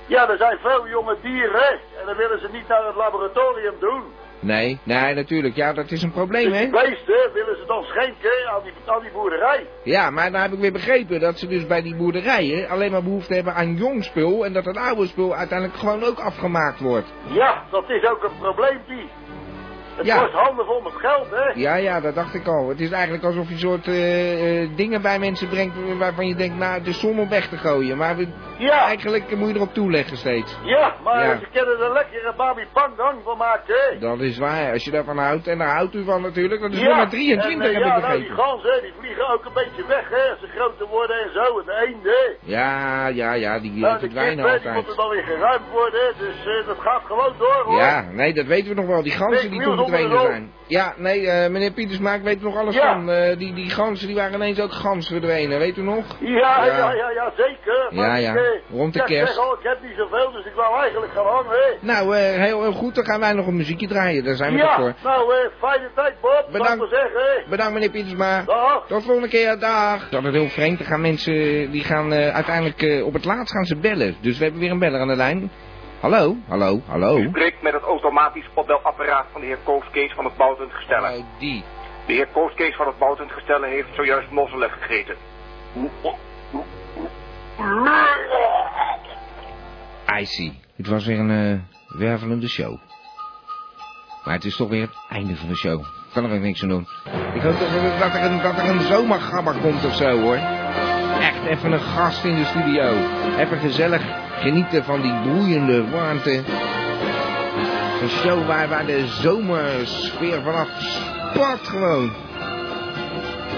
Speaker 4: ja, er zijn veel jonge dieren hè, en dan willen ze niet naar het laboratorium doen.
Speaker 2: Nee, nee, natuurlijk. Ja, dat is een probleem,
Speaker 4: Dus
Speaker 2: hè?
Speaker 4: die beesten willen ze dan schenken hè, aan die, aan die boerderij.
Speaker 2: Ja, maar nou heb ik weer begrepen dat ze dus bij die boerderijen alleen maar behoefte hebben aan jong spul... en dat het oude spul uiteindelijk gewoon ook afgemaakt wordt.
Speaker 4: Ja, dat is ook een probleem, die. Het
Speaker 2: Ja.
Speaker 4: kost handen vol met geld, hè?
Speaker 2: Ja, ja, dat dacht ik al. Het is eigenlijk alsof je een soort eh, eh, dingen bij mensen brengt waarvan je denkt, nou, het is zon om weg te gooien. Maar we,
Speaker 4: Ja.
Speaker 2: eigenlijk moet je erop toeleggen steeds.
Speaker 4: Ja, maar
Speaker 2: Ja.
Speaker 4: ze kunnen er lekkere Babi Pangang van maken, hè?
Speaker 2: Dat is waar, als je daarvan houdt, en daar houdt u van natuurlijk. Dat is
Speaker 4: ja.
Speaker 2: nummer 23,
Speaker 4: en, eh,
Speaker 2: heb
Speaker 4: ja,
Speaker 2: ik
Speaker 4: nou, die
Speaker 2: begrepen.
Speaker 4: ganzen, hè, die vliegen ook een beetje weg, hè? Als ze groter worden en zo, en de eenden, hè?
Speaker 2: Ja, ja, ja, die eh,
Speaker 4: Nou, de
Speaker 2: verdwijnen
Speaker 4: kippen, die
Speaker 2: altijd.
Speaker 4: moeten dan weer geruimd worden, hè? Dus eh, dat gaat gewoon door, hoor.
Speaker 2: Ja, nee, dat weten we nog wel. Die ganzen die
Speaker 4: Niels
Speaker 2: komt een trainer
Speaker 5: rood.
Speaker 2: zijn. Ja, nee, eh, meneer Pietersma, ik weet er nog alles
Speaker 5: Ja.
Speaker 2: van. Eh, die, die ganzen die waren ineens ook gans verdwenen, weet u nog?
Speaker 5: Ja, ja, ja, ja, zeker.
Speaker 2: Ja,
Speaker 5: Maar
Speaker 2: ja,
Speaker 5: ik, eh,
Speaker 2: rond de
Speaker 5: ja, ik
Speaker 2: kerst.
Speaker 5: Zeg, al, ik heb niet zoveel, dus ik wou eigenlijk gaan hangen. hè.
Speaker 2: Nou, eh, heel, heel goed, dan gaan wij nog een muziekje draaien. Daar zijn we toch
Speaker 5: ja,
Speaker 2: voor.
Speaker 5: nou, eh, fijne tijd, Bob. Laat maar zeggen, hè.
Speaker 2: Bedankt meneer Pietersma.
Speaker 5: Dag.
Speaker 2: Tot de volgende keer, dag. Dat is heel vreemd. Er gaan mensen, die gaan eh, uiteindelijk eh, op het laatst gaan ze bellen. Dus we hebben weer een beller aan de lijn. Hallo, hallo, hallo.
Speaker 10: Spreekt met het automatisch opbelapparaat van de heer Kooskees van het Boutend Gestellen.
Speaker 2: Oh, die.
Speaker 10: De heer Kooskees van het Boutend Gestellen heeft zojuist mosselen gegeten.
Speaker 2: I see. Het was weer een eh, wervelende show. Maar het is toch weer het einde van de show. Kan er ook niks aan doen. Ik hoop toch dat, dat er een, dat er een zomergabber komt of zo hoor. Echt even een gast in de studio. Even gezellig genieten van die broeiende warmte. Een show waar, waar de zomersfeer vanaf spat gewoon.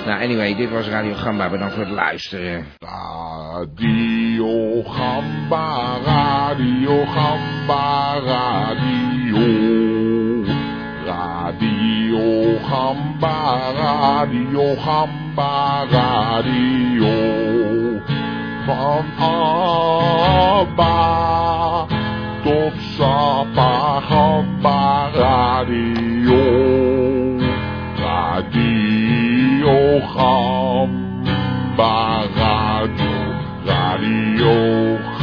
Speaker 2: Nou, anyway, dit was Radio Gamba. Bedankt voor het luisteren.
Speaker 17: Radio Gamba, Radio Gamba, Radio. Radio Gamba, Radio Gamba, Radio. Van Abba tot Sapa Gamba, Radio. Radio Gamba. Radio, radio,